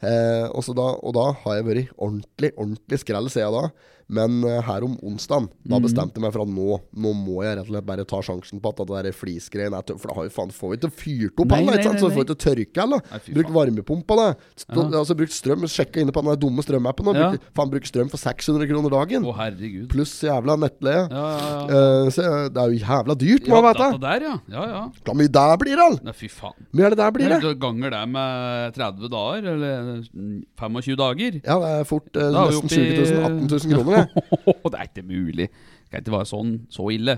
[SPEAKER 2] Eh, og, så da, og da har jeg vært ordentlig, ordentlig skrell siden da. Men eh, her om onsdagen,
[SPEAKER 1] Mm.
[SPEAKER 2] da bestemte jeg meg for at nå, nå må jeg rett og slett bare ta sjansen på at det der flisgreien er tøff. For da har jo faen, får vi ikke fyrt opp
[SPEAKER 1] Nei,
[SPEAKER 2] alle,
[SPEAKER 1] nei,
[SPEAKER 2] ikke sant? Så
[SPEAKER 1] nei,
[SPEAKER 2] får vi ikke tørke alle.
[SPEAKER 1] Nei, fy
[SPEAKER 2] Brukt varmepumpa, da. Stå,
[SPEAKER 1] Ja.
[SPEAKER 2] Altså brukt strøm. Sjekka inne på den der dumme strømappen. Og
[SPEAKER 1] Ja.
[SPEAKER 2] brukt, faen, brukt strøm for 600 kroner dagen.
[SPEAKER 1] Å, herregud.
[SPEAKER 2] Pluss jævla nettleie.
[SPEAKER 1] Ja, ja, ja.
[SPEAKER 2] Eh, så det er jo jævla dyrt, må
[SPEAKER 1] Ja,
[SPEAKER 2] jeg
[SPEAKER 1] da,
[SPEAKER 2] vite.
[SPEAKER 1] der, ja. Ja, ja.
[SPEAKER 2] Hvor mye det blir, all?
[SPEAKER 1] Nei, fy faen.
[SPEAKER 2] Hvor mye er det der blir, det?
[SPEAKER 1] Du ganger det med 30 dager, eller 25 dager.
[SPEAKER 2] Ja, det er fort eh,
[SPEAKER 1] Da er vi
[SPEAKER 2] nesten
[SPEAKER 1] oppe i-
[SPEAKER 2] 20 000-18 000 kroner. det.
[SPEAKER 1] det er ikke mulig. Det kan ikke være sånn så ille.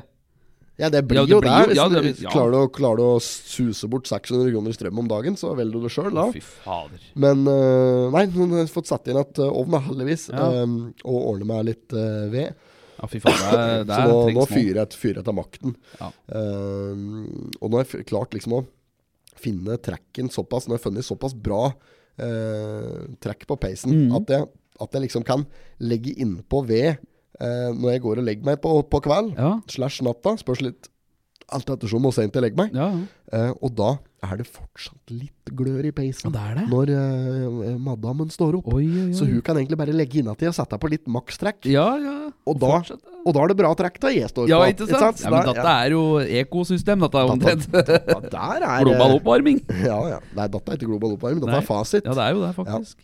[SPEAKER 2] Ja, det blir
[SPEAKER 1] Ja, det
[SPEAKER 2] jo
[SPEAKER 1] blir jo-
[SPEAKER 2] det. Hvis
[SPEAKER 1] ja, det
[SPEAKER 2] du
[SPEAKER 1] blir- ja.
[SPEAKER 2] klarer, du, å- klarer du å suse bort 600 kroner i strøm om dagen, så velger du det sjøl da.
[SPEAKER 1] Fy fader.
[SPEAKER 2] Men eh, nei, nå har jeg fått satt inn at eh, ovnen heldigvis,
[SPEAKER 1] Ja.
[SPEAKER 2] eh, og ordner meg litt eh, ved.
[SPEAKER 1] Ja, fy faen, det, er- det
[SPEAKER 2] så
[SPEAKER 1] er-
[SPEAKER 2] nå, nå
[SPEAKER 1] trengs noe.
[SPEAKER 2] fyrer jeg, fyrer jeg til makten.
[SPEAKER 1] Ja.
[SPEAKER 2] Eh, og nå har jeg f- klart liksom å finne tracken såpass, nå har jeg funnet såpass bra eh, track på peisen,
[SPEAKER 1] Mm.
[SPEAKER 2] at, jeg, at jeg liksom kan legge innpå ved eh, når jeg går og legger meg på, på kveld,
[SPEAKER 1] Ja.
[SPEAKER 2] slash natta, spørs litt alt ettersom hvor sent jeg legger meg.
[SPEAKER 1] Ja, ja.
[SPEAKER 2] Eh, og da er det fortsatt litt glør i peisen
[SPEAKER 1] det er det.
[SPEAKER 2] når eh, madammen står opp.
[SPEAKER 1] Oi, oi, oi.
[SPEAKER 2] Så hun kan egentlig bare legge inntil og sette på litt makstrekk.
[SPEAKER 1] Ja, ja.
[SPEAKER 2] Og da,
[SPEAKER 1] Fortsett, da.
[SPEAKER 2] og da er det bra trekk da jeg står
[SPEAKER 1] Ja,
[SPEAKER 2] på.
[SPEAKER 1] ikke sant? Ja, men
[SPEAKER 2] Da-
[SPEAKER 1] dette er jo ekosystem, dette er
[SPEAKER 2] Dette-
[SPEAKER 1] omtrent.
[SPEAKER 2] ja, der er
[SPEAKER 1] Global oppvarming.
[SPEAKER 2] Ja, ja. Nei, dette er ikke global oppvarming, dette
[SPEAKER 1] Nei.
[SPEAKER 2] er fasit.
[SPEAKER 1] Ja, det er jo det, faktisk.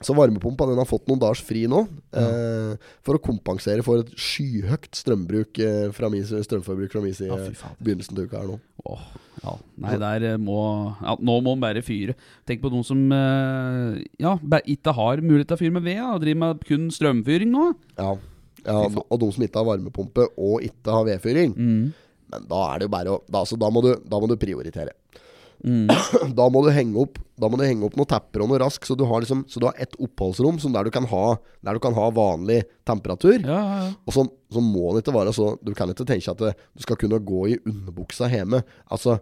[SPEAKER 2] Så varmepumpa den har fått noen dagers fri nå, eh, for å kompensere for et skyhøyt strømbruk eh, fra min, si- strømforbruk fra min side
[SPEAKER 1] Ja, fy fader.
[SPEAKER 2] begynnelsen til uka her nå.
[SPEAKER 1] Åh, ja. Nei, der eh, må ja, Nå må en bare fyre. Tenk på noen som eh, ja, bare ikke har mulighet til å fyre med ved, ja, og driver med kun strømfyring nå.
[SPEAKER 2] Ja. ja og de som ikke har varmepumpe og ikke har vedfyring,
[SPEAKER 1] Mm.
[SPEAKER 2] men da er det jo bare å da, altså, da, må du, da må du prioritere.
[SPEAKER 1] Mm.
[SPEAKER 2] Da må du henge opp Da må du henge opp noen tepper og noe rask, så du har, liksom, så du har et oppholdsrom som der, du kan ha, der du kan ha vanlig temperatur.
[SPEAKER 1] Ja, ja, ja.
[SPEAKER 2] Og så, så må det ikke være så Du kan ikke tenke at det- du skal kunne gå i underbuksa hjemme. Altså,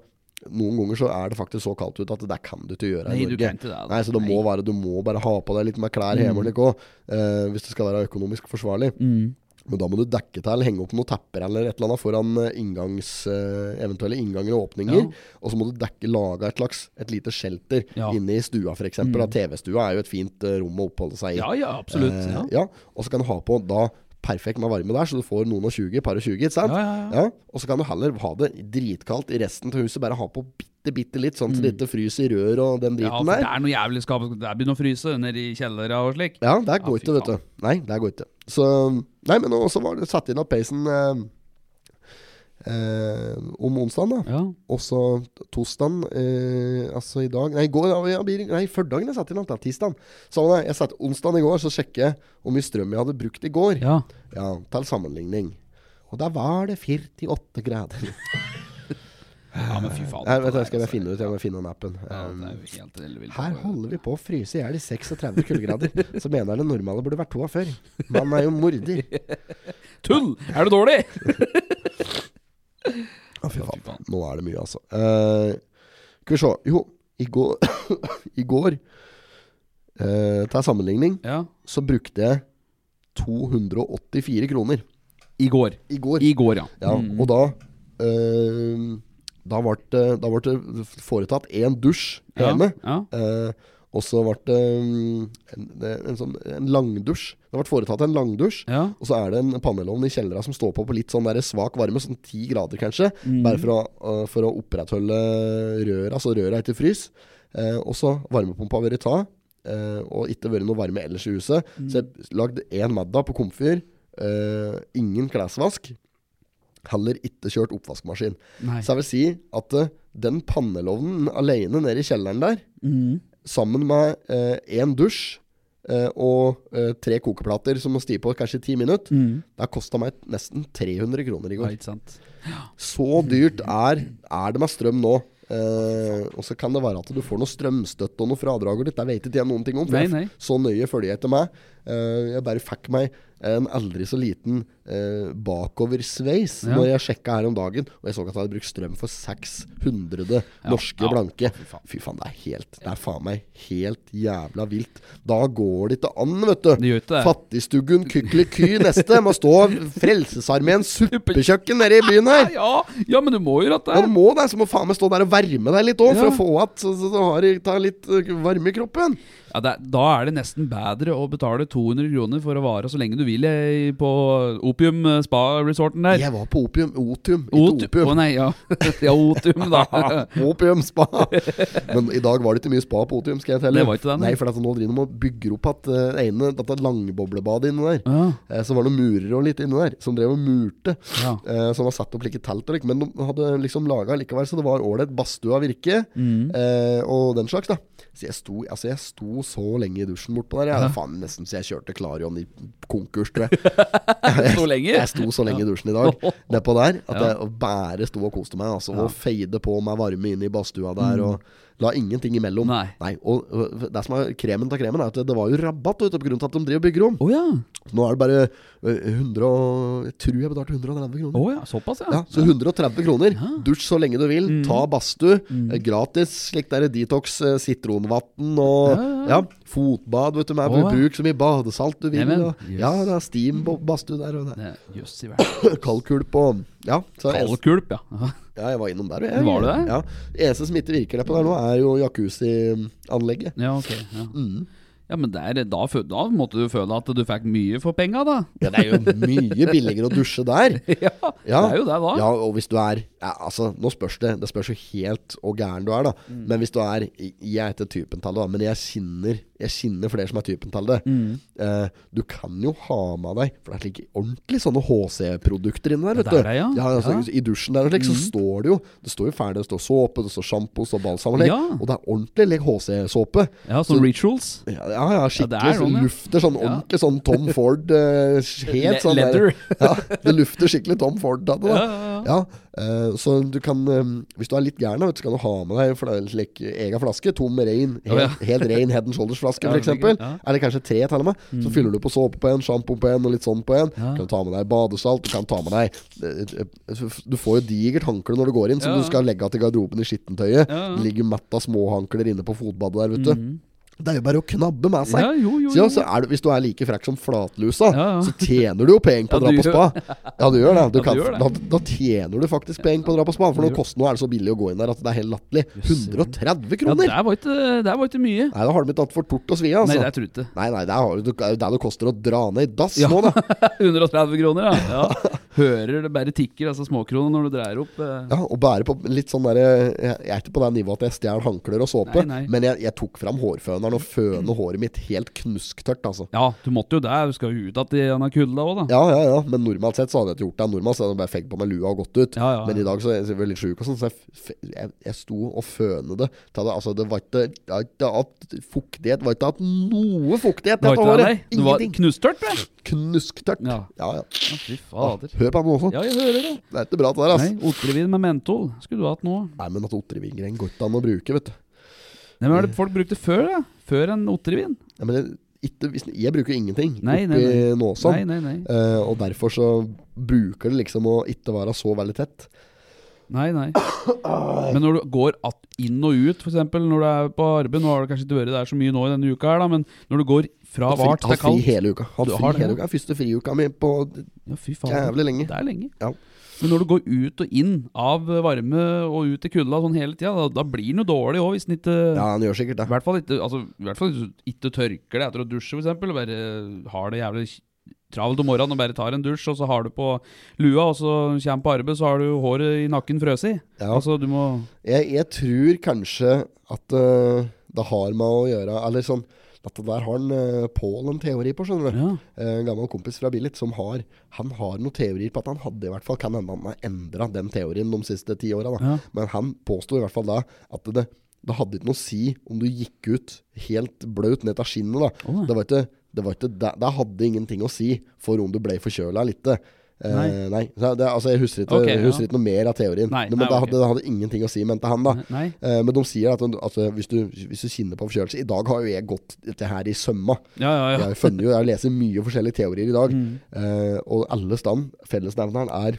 [SPEAKER 2] noen ganger så er det faktisk så kaldt ute at det kan du ikke gjøre i
[SPEAKER 1] Nei,
[SPEAKER 2] Norge.
[SPEAKER 1] du kan ikke det, altså. da.
[SPEAKER 2] Nei, så det må være, du må bare ha på deg litt med klær
[SPEAKER 1] Mm.
[SPEAKER 2] hjemme eller noe, eh, hvis det skal være økonomisk forsvarlig.
[SPEAKER 1] Mm.
[SPEAKER 2] Men da må du dekke til, henge opp noen tepper eller et eller annet foran eh, inngangs, eh, eventuelle innganger og åpninger.
[SPEAKER 1] Ja.
[SPEAKER 2] Og så må du dekke, lage et slags et lite shelter
[SPEAKER 1] Ja.
[SPEAKER 2] inne i stua, f.eks. Mm. TV-stua er jo et fint eh, rom å oppholde seg i.
[SPEAKER 1] ja, ja absolutt.
[SPEAKER 2] Eh,
[SPEAKER 1] Ja.
[SPEAKER 2] ja. Og så kan du ha på da perfekt med varme der, så du får noen og 20, par og 20, ikke sant?
[SPEAKER 1] Ja, ja,
[SPEAKER 2] Og så kan du heller ha det dritkaldt i resten av huset, bare ha på bitte, bitte litt, sånn at det ikke fryser i rør og den
[SPEAKER 1] Mm. Ja,
[SPEAKER 2] driten
[SPEAKER 1] for det
[SPEAKER 2] der.
[SPEAKER 1] er noe jævlig skap. Det begynner å fryse nede i kjellera og slik.
[SPEAKER 2] Ja, der
[SPEAKER 1] Ja,
[SPEAKER 2] går
[SPEAKER 1] fy
[SPEAKER 2] ikke, vet
[SPEAKER 1] faen.
[SPEAKER 2] du. Nei, der går ikke. Så, nei, men også var det satt inn av peisen eh, eh, om onsdagen da.
[SPEAKER 1] Ja.
[SPEAKER 2] Og så tosdagen, eh, altså i dag Nei, i går, ja, blir- nei førdagen jeg satt inn, da, tisdagen. Så var det- jeg satt onsdagen i går, så sjekket jeg hvor mye strøm jeg hadde brukt i går.
[SPEAKER 1] ja.
[SPEAKER 2] Ja, til sammenligning. Og der var det 48 grader.
[SPEAKER 1] Ja, men fy faen.
[SPEAKER 2] Jeg vet,
[SPEAKER 1] dette
[SPEAKER 2] jeg skal
[SPEAKER 1] der,
[SPEAKER 2] bare finne ut, jeg må finne den appen.
[SPEAKER 1] altså.
[SPEAKER 2] Um,
[SPEAKER 1] Ja, det er jo helt ellevilt.
[SPEAKER 2] her holder vi på å fryse i hjel i 36 kuldegrader, så mener jeg det normale burde vært to av før. Mannen er jo morder.
[SPEAKER 1] Tull! Er du dårlig?
[SPEAKER 2] Å, fy
[SPEAKER 1] Ja, fy
[SPEAKER 2] faen.
[SPEAKER 1] faen.
[SPEAKER 2] Nå er det mye, altså. Eh, skal vi se. Jo, i går, i går eh, til sammenligning,
[SPEAKER 1] Ja.
[SPEAKER 2] så brukte jeg 284 kroner.
[SPEAKER 1] I går.
[SPEAKER 2] I Mm. går.
[SPEAKER 1] I går, ja.
[SPEAKER 2] Ja, og da eh, Da ble det- da ble det foretatt én dusj
[SPEAKER 1] Ja,
[SPEAKER 2] hjemme.
[SPEAKER 1] Ja.
[SPEAKER 2] Eh, og så ble det mm, en, det- en, sånn, en langdusj. Det ble foretatt en langdusj.
[SPEAKER 1] ja.
[SPEAKER 2] Og så er det en pannelovn i kjellera som står på på litt sånn der svak varme, sånn ti grader kanskje. Bare for å, eh, for å opprettholde røra, så røra ikke frys. Eh, og så varmepumpa har vært ta, eh, og ikke vært noe varme ellers i huset. Så jeg lagde én middag på komfyr. eh, ingen klesvask. Heller ikke kjørt oppvaskmaskin.
[SPEAKER 1] Nei.
[SPEAKER 2] Så jeg vil si at eh, den pannelovnen alene nede i kjelleren der,
[SPEAKER 1] Mm,
[SPEAKER 2] sammen med én dusj eh, og eh, tre kokeplater som må stige på kanskje ti minutter, det har kosta meg nesten 300 kroner i
[SPEAKER 1] Ja,
[SPEAKER 2] går.
[SPEAKER 1] ikke sant.
[SPEAKER 2] Så dyrt er, er det med strøm nå. Eh, og så kan det være at du får noe strømstøtte og noe fradrag og litt. Det vet ikke jeg noen ting om. for
[SPEAKER 1] Nei,
[SPEAKER 2] jeg-
[SPEAKER 1] nei.
[SPEAKER 2] Så nøye følger jeg etter meg. Eh, jeg bare fikk meg en aldri så liten eh, bakoversveis
[SPEAKER 1] Ja.
[SPEAKER 2] når jeg sjekka her om dagen, og jeg så at jeg hadde brukt strøm for 600 norske
[SPEAKER 1] ja.
[SPEAKER 2] blanke.
[SPEAKER 1] Fy faen.
[SPEAKER 2] Fy faen, det er helt Det er faen meg helt jævla vilt. Da går det ikke an, vet du.
[SPEAKER 1] Det gjør ikke det.
[SPEAKER 2] Fattigstuggen Kykeliky neste må stå Frelsesarmeens suppekjøkken nede i byen her.
[SPEAKER 1] Ja, ja, men du må jo at det
[SPEAKER 2] Ja, du må det, så må faen meg stå der og varme deg litt òg, for
[SPEAKER 1] Ja.
[SPEAKER 2] å få at så, så, så har jeg, ta litt øh, varme i kroppen.
[SPEAKER 1] Ja, det, er- da er det nesten bedre å betale 200 kroner for å vare så lenge du vil eh, på Opium eh, spa-resorten der.
[SPEAKER 2] Jeg var på opium. Otium,
[SPEAKER 1] Ot-
[SPEAKER 2] ikke opium.
[SPEAKER 1] Å nei, ja. ja, Otium, da.
[SPEAKER 2] Opium spa. Men i dag var det ikke mye spa på Otium, skal jeg telle.
[SPEAKER 1] Det var ikke det, nei.
[SPEAKER 2] nei. for at nå driver de og bygger opp at øh, det ene, dette langboblebadet inne der.
[SPEAKER 1] Ja.
[SPEAKER 2] Eh, Så var det noen murer og litt inne der, som drev og murte.
[SPEAKER 1] Ja.
[SPEAKER 2] Eh, Som var satt opp like telt og lik, men de hadde liksom laga likevel, så det var ålreit badstue av virke.
[SPEAKER 1] Mm.
[SPEAKER 2] eh, Og den slags, da. Så jeg sto, altså jeg sto så lenge i dusjen bortpå der. Jeg, Faen, nesten så jeg kjørte Klarion i konkurs, tror jeg.
[SPEAKER 1] Så lenge?
[SPEAKER 2] Jeg sto så lenge i dusjen i dag nedpå der at jeg bare sto og koste meg. Altså, Og feide på med varme inn i badstua der, og la ingenting imellom.
[SPEAKER 1] Nei.
[SPEAKER 2] og, og det som er kremen av kremen, er at det var jo rabatt vet du, på grunn av at de driver og bygger om.
[SPEAKER 1] Å ja.
[SPEAKER 2] Nå er det bare eh, 100 og, Jeg tror jeg betalte 130 kroner.
[SPEAKER 1] Å ja. Såpass, ja.
[SPEAKER 2] Ja, så 130 kroner. Dusj så lenge du vil. Ta badstue. eh, Gratis. Slik der detox, eh, sitronvann og ja, fotbad. Vet du, med
[SPEAKER 1] Å, ja.
[SPEAKER 2] Bruk så mye badesalt du vil.
[SPEAKER 1] Neimen,
[SPEAKER 2] og,
[SPEAKER 1] jøss.
[SPEAKER 2] ja, det er steam på badstue der. Og det.
[SPEAKER 1] Det- Jøss i verden.
[SPEAKER 2] Kaldkulp og Ja. Så jeg,
[SPEAKER 1] Kaldkulp, ja.
[SPEAKER 2] Ja, jeg var innom der, og jeg.
[SPEAKER 1] Var du det?
[SPEAKER 2] Ja. Eneste som ikke virker der på der nå, er jo jacuzzi-anlegget.
[SPEAKER 1] Ja, ok. Ja,
[SPEAKER 2] Mm.
[SPEAKER 1] ja men der, da, fø- da måtte du føle at du fikk mye for penga, da.
[SPEAKER 2] Ja, det er jo mye billigere å dusje der.
[SPEAKER 1] Ja, det er jo det, da.
[SPEAKER 2] Ja, og hvis du er ja, Altså, nå spørs det. Det spørs jo helt hvor gæren du er, da.
[SPEAKER 1] Mm.
[SPEAKER 2] Men hvis du er Jeg er ikke typen til det, da, men jeg kjenner Jeg kjenner flere som er typen til det.
[SPEAKER 1] Mm.
[SPEAKER 2] Eh, du kan jo ha med deg For det er slik ordentlig sånne HC-produkter inne der, vet
[SPEAKER 1] det
[SPEAKER 2] du.
[SPEAKER 1] er det, ja.
[SPEAKER 2] altså,
[SPEAKER 1] Ja. Mm.
[SPEAKER 2] I dusjen der og slik, så står det jo Det står jo ferdig, det står såpe, det står sjampo, det står balsam og slik.
[SPEAKER 1] Ja.
[SPEAKER 2] Og det er ordentlig like, HC-såpe.
[SPEAKER 1] Ja, sånn rituals.
[SPEAKER 2] Ja, ja, ja skikkelig.
[SPEAKER 1] Ja, det er sånn, ja.
[SPEAKER 2] lufter sånn ordentlig sånn Tom Ford eh, Helt
[SPEAKER 1] Le-
[SPEAKER 2] sånn der-
[SPEAKER 1] leather.
[SPEAKER 2] ja, det lufter skikkelig Tom Ford av det. Da.
[SPEAKER 1] Ja, ja,
[SPEAKER 2] eh, så du kan eh, Hvis du er litt gæren, da, vet du, så kan du ha med deg for det er slik egen flaske. Tom, rein. Helt,
[SPEAKER 1] Ja, ja.
[SPEAKER 2] helt rein head and shoulders-flaske,
[SPEAKER 1] Ja,
[SPEAKER 2] for eksempel
[SPEAKER 1] sikkert, ja. Mm.
[SPEAKER 2] Eller kanskje tre, til og med. Så fyller du på såpe på en, sjampo på en, og litt sånn på en.
[SPEAKER 1] Ja.
[SPEAKER 2] Kan du ta med deg badesalt. Du kan ta med deg eh, eh, Du får jo digert håndkle når du går inn, som
[SPEAKER 1] Ja, ja.
[SPEAKER 2] du skal legge til garderoben i skittentøyet.
[SPEAKER 1] Ja, Mm. ja.
[SPEAKER 2] Det ligger matt av småhåndklær inne på fotbadet der, vet du. Det er jo bare å knabbe med seg.
[SPEAKER 1] Ja, jo, jo,
[SPEAKER 2] Så, ja,
[SPEAKER 1] jo.
[SPEAKER 2] så er du, hvis du er like frekk som flatlusa,
[SPEAKER 1] Ja, ja.
[SPEAKER 2] så tjener du jo penger på
[SPEAKER 1] Ja,
[SPEAKER 2] å dra
[SPEAKER 1] du
[SPEAKER 2] på spa. Ja, du gjør det. Du
[SPEAKER 1] Ja, du
[SPEAKER 2] kan,
[SPEAKER 1] gjør det.
[SPEAKER 2] Da, da tjener du faktisk penger på å dra på spa. For nå, kost, nå er det så billig å gå inn der at det er helt latterlig. 130
[SPEAKER 1] Ja,
[SPEAKER 2] kroner!
[SPEAKER 1] der var ikke, der var ikke mye.
[SPEAKER 2] Nei, da har de ikke tatt for tort å svi av,
[SPEAKER 1] Nei,
[SPEAKER 2] altså.
[SPEAKER 1] det tror jeg ikke.
[SPEAKER 2] Nei, nei, det er jo det er jo det det koster å dra ned i dass
[SPEAKER 1] Ja.
[SPEAKER 2] nå, da.
[SPEAKER 1] 130 kroner, ja. ja. Hører det bare tikker, altså småkroner, når du dreier opp. eh.
[SPEAKER 2] Ja, og bære på litt sånn derre Jeg jeg er ikke på det nivået at jeg stjeler håndklær og såpe,
[SPEAKER 1] Nei, nei.
[SPEAKER 2] men jeg, jeg tok fram hårføneren og føner håret mitt helt knusktørt, altså.
[SPEAKER 1] Ja, du måtte jo det. Du skal jo ut igjen i denne kulda òg, da.
[SPEAKER 2] Ja, ja, ja, men normalt sett så hadde jeg ikke gjort det. Normalt så hadde jeg bare fegd på meg lua og gått ut.
[SPEAKER 1] Ja, ja, ja.
[SPEAKER 2] Men i dag så er jeg veldig sjuk, og sånn, så jeg, f- jeg, jeg sto og føne det. Ta det altså, det var ikke jeg har ikke hatt fuktighet. Var ikke hatt noe fuktighet
[SPEAKER 1] Det var
[SPEAKER 2] dette
[SPEAKER 1] ikke det,
[SPEAKER 2] året.
[SPEAKER 1] nei. Det var
[SPEAKER 2] Ingenting.
[SPEAKER 1] knustørt, vel?
[SPEAKER 2] Knusktørt. Ja.
[SPEAKER 1] Ja.
[SPEAKER 2] Ja, Ah,
[SPEAKER 1] Ja, fy fader.
[SPEAKER 2] Hør på meg også.
[SPEAKER 1] Ja, jeg hører det.
[SPEAKER 2] Det er ikke bra, det der,
[SPEAKER 1] Nei,
[SPEAKER 2] altså. Nei.
[SPEAKER 1] Otrevin med mentol skulle du hatt nå.
[SPEAKER 2] men at Otrevingeren går ikke an å bruke, vet du.
[SPEAKER 1] Nei, men Hva er det
[SPEAKER 2] Mm.
[SPEAKER 1] folk brukte før, da? Før en otrevin?
[SPEAKER 2] Ja, men det, ikke, hvis, jeg bruker jo ingenting
[SPEAKER 1] Nei, nei,
[SPEAKER 2] oppi
[SPEAKER 1] nei.
[SPEAKER 2] nåsa.
[SPEAKER 1] Nei, nei, nei.
[SPEAKER 2] Eh, og derfor så bruker det liksom å ikke være så veldig tett.
[SPEAKER 1] Nei, nei. Men når du går at inn og ut, f.eks. når du er på arbeid Nå har du kanskje ikke vært der så mye nå i denne uka, her da men når du går fra
[SPEAKER 2] Hatt fri-
[SPEAKER 1] vart til
[SPEAKER 2] hatt fri
[SPEAKER 1] kaldt
[SPEAKER 2] hele uka. Hatt
[SPEAKER 1] Du
[SPEAKER 2] fri
[SPEAKER 1] har det,
[SPEAKER 2] hele
[SPEAKER 1] ja.
[SPEAKER 2] uka. Første friuka mi på
[SPEAKER 1] Ja, fy faen.
[SPEAKER 2] Jævlig lenge.
[SPEAKER 1] Det er lenge.
[SPEAKER 2] Ja.
[SPEAKER 1] Men når du går ut og inn av varme og ut i kulda sånn hele tida, da, da blir den jo dårlig òg, hvis den ikke
[SPEAKER 2] Ja, han gjør sikkert
[SPEAKER 1] I
[SPEAKER 2] det.
[SPEAKER 1] hvert fall ikke altså, i hvert fall hvis du ikke tørker det etter å dusje, f.eks. Og bare eh, har det jævlig travelt om morgenen og bare tar en dusj, og så har du på lua, og så kommer på arbeid, så har du håret i nakken frøs i.
[SPEAKER 2] Ja.
[SPEAKER 1] Altså, du må
[SPEAKER 2] Jeg, jeg tror kanskje at eh, det har med å gjøre Eller sånn Dette der har en, eh, Pål en teori på, skjønner du.
[SPEAKER 1] Ja.
[SPEAKER 2] Eh, En gammel kompis fra Billit som har Han har noen teorier på at han hadde i hvert fall Kan hende han har endra den teorien de siste ti åra, da.
[SPEAKER 1] Ja.
[SPEAKER 2] Men han påsto i hvert fall da at det, det hadde ikke noe å si om du gikk ut helt bløt ned av skinnet, da.
[SPEAKER 1] Å, nei.
[SPEAKER 2] det var ikke det, var ikke, det, det hadde ingenting å si for om du ble forkjøla eller ikke. Eh, nei.
[SPEAKER 1] Nei.
[SPEAKER 2] så det, altså, jeg husker ikke,
[SPEAKER 1] Ok,
[SPEAKER 2] jeg
[SPEAKER 1] ja.
[SPEAKER 2] husker ikke noe mer av teorien.
[SPEAKER 1] Nei,
[SPEAKER 2] men
[SPEAKER 1] nei,
[SPEAKER 2] det,
[SPEAKER 1] ok.
[SPEAKER 2] hadde, det hadde ingenting å si, mente han da.
[SPEAKER 1] Nei.
[SPEAKER 2] Eh, men de sier at, at hvis, du, hvis du kjenner på forkjølelse I dag har jo jeg gått dette her i sømma.
[SPEAKER 1] Ja, Mm. ja, ja.
[SPEAKER 2] Jeg funnet jo, jeg leser mye forskjellige teorier i dag. Eh, og alle stand, fellesnevneren er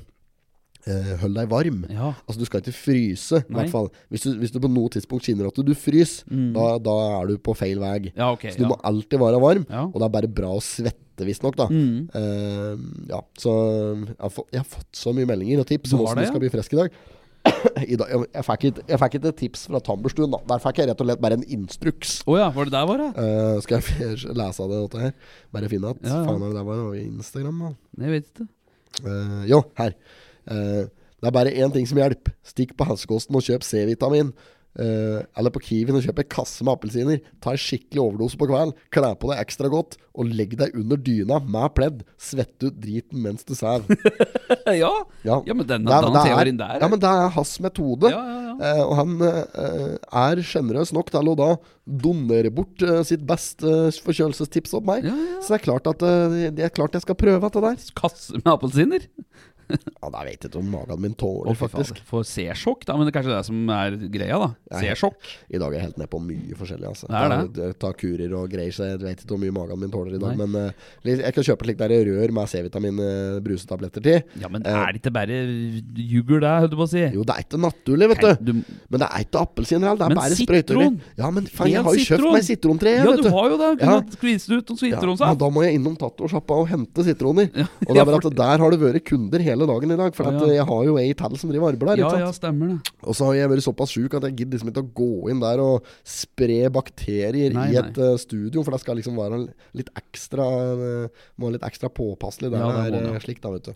[SPEAKER 2] eh, hold deg varm.
[SPEAKER 1] Ja.
[SPEAKER 2] Altså Du skal ikke fryse, i
[SPEAKER 1] Nei.
[SPEAKER 2] hvert fall. Hvis du, hvis du på noe tidspunkt kjenner at du fryser, da, da er du på feil vei.
[SPEAKER 1] Ja, ok.
[SPEAKER 2] Så du
[SPEAKER 1] ja.
[SPEAKER 2] må alltid være varm,
[SPEAKER 1] Ja. Mm.
[SPEAKER 2] og det er bare bra å svette, visstnok. da. Eh, ja, så jeg har, fått, jeg har fått så mye meldinger og tips om
[SPEAKER 1] Du har
[SPEAKER 2] hvordan
[SPEAKER 1] det,
[SPEAKER 2] du skal bli frisk i dag. I dag jeg, jeg, fikk ikke, jeg fikk ikke tips fra Tamberstuen, da. Der fikk jeg rett og slett bare en instruks.
[SPEAKER 1] Å ja, var det der var det?
[SPEAKER 2] Eh, skal jeg f- lese av det, dette her? Bare finne at
[SPEAKER 1] Ja, ja.
[SPEAKER 2] Faen, er det der var det Instagram, da?
[SPEAKER 1] Jeg vet ikke.
[SPEAKER 2] Eh, jo, her. Eh, det er bare én ting som hjelper. Stikk på helsekosten og kjøp C-vitamin. Eh, eller på Kiwien og kjøp en kasse med appelsiner. Ta en skikkelig overdose på kvelden. Kle på deg ekstra godt, og legg deg under dyna med pledd. Svett ut driten mens du sover.
[SPEAKER 1] ja.
[SPEAKER 2] Ja.
[SPEAKER 1] ja, men denne,
[SPEAKER 2] Det er-
[SPEAKER 1] denne
[SPEAKER 2] det er-
[SPEAKER 1] teorien der
[SPEAKER 2] Ja, men det er hans metode.
[SPEAKER 1] Ja, ja, ja.
[SPEAKER 2] Eh, og han eh, er sjenerøs nok til å da donere bort eh, sitt beste eh, forkjølelsestips opp meg.
[SPEAKER 1] Ja, ja.
[SPEAKER 2] Så det er klart at eh, det er klart jeg skal prøve dette der.
[SPEAKER 1] Kasse med appelsiner?
[SPEAKER 2] Ja, det vet jeg ikke om magen min
[SPEAKER 1] Å,
[SPEAKER 2] tåler,
[SPEAKER 1] fy
[SPEAKER 2] faktisk.
[SPEAKER 1] fader. For C-sjokk, da. Men det er kanskje det som er greia, da. C-sjokk.
[SPEAKER 2] I dag er jeg helt ned på mye forskjellig. Altså.
[SPEAKER 1] Det er det.
[SPEAKER 2] Jeg tar kurer og greier, så jeg vet ikke hvor mye magen min tåler i dag.
[SPEAKER 1] Nei.
[SPEAKER 2] Men eh, litt- jeg kan kjøpe slik der rør med C-vitamin eh, brusetabletter til.
[SPEAKER 1] Ja, men er det ikke bare jugger, det, holdt du på å si?
[SPEAKER 2] Eh, Jo, det er ikke naturlig, vet
[SPEAKER 1] Kan
[SPEAKER 2] du.
[SPEAKER 1] du-
[SPEAKER 2] Men det er ikke appelsiner heller, det
[SPEAKER 1] Men
[SPEAKER 2] er bare sprøyter.
[SPEAKER 1] sitron!
[SPEAKER 2] i. Ja, men faen, jeg
[SPEAKER 1] Helt
[SPEAKER 2] har jo kjøpt
[SPEAKER 1] sitron!
[SPEAKER 2] meg sitrontre,
[SPEAKER 1] Ja,
[SPEAKER 2] jeg,
[SPEAKER 1] du har jo det. Du
[SPEAKER 2] Eh, Ja.
[SPEAKER 1] kunne skvise ut noen
[SPEAKER 2] Ja,
[SPEAKER 1] sitron,
[SPEAKER 2] men
[SPEAKER 1] sa
[SPEAKER 2] da må jeg innom tatoversjappa og hente sitroner. Og
[SPEAKER 1] ja,
[SPEAKER 2] det er bare at
[SPEAKER 1] for-
[SPEAKER 2] der har det vært kunder hele hele dagen i dag. For
[SPEAKER 1] Ja,
[SPEAKER 2] at
[SPEAKER 1] ja.
[SPEAKER 2] eh, jeg har jo ei til som driver og arbeider.
[SPEAKER 1] Ja,
[SPEAKER 2] ikke
[SPEAKER 1] ja,
[SPEAKER 2] sant?
[SPEAKER 1] stemmer det.
[SPEAKER 2] Og så har jeg vært såpass sjuk at jeg gidder liksom ikke å gå inn der og spre bakterier
[SPEAKER 1] Nei,
[SPEAKER 2] i et eh, studio, for det skal liksom være litt ekstra eh, Må være litt ekstra påpasselig der
[SPEAKER 1] Ja,
[SPEAKER 2] det
[SPEAKER 1] det
[SPEAKER 2] er
[SPEAKER 1] må det.
[SPEAKER 2] eh, slik, da, vet du.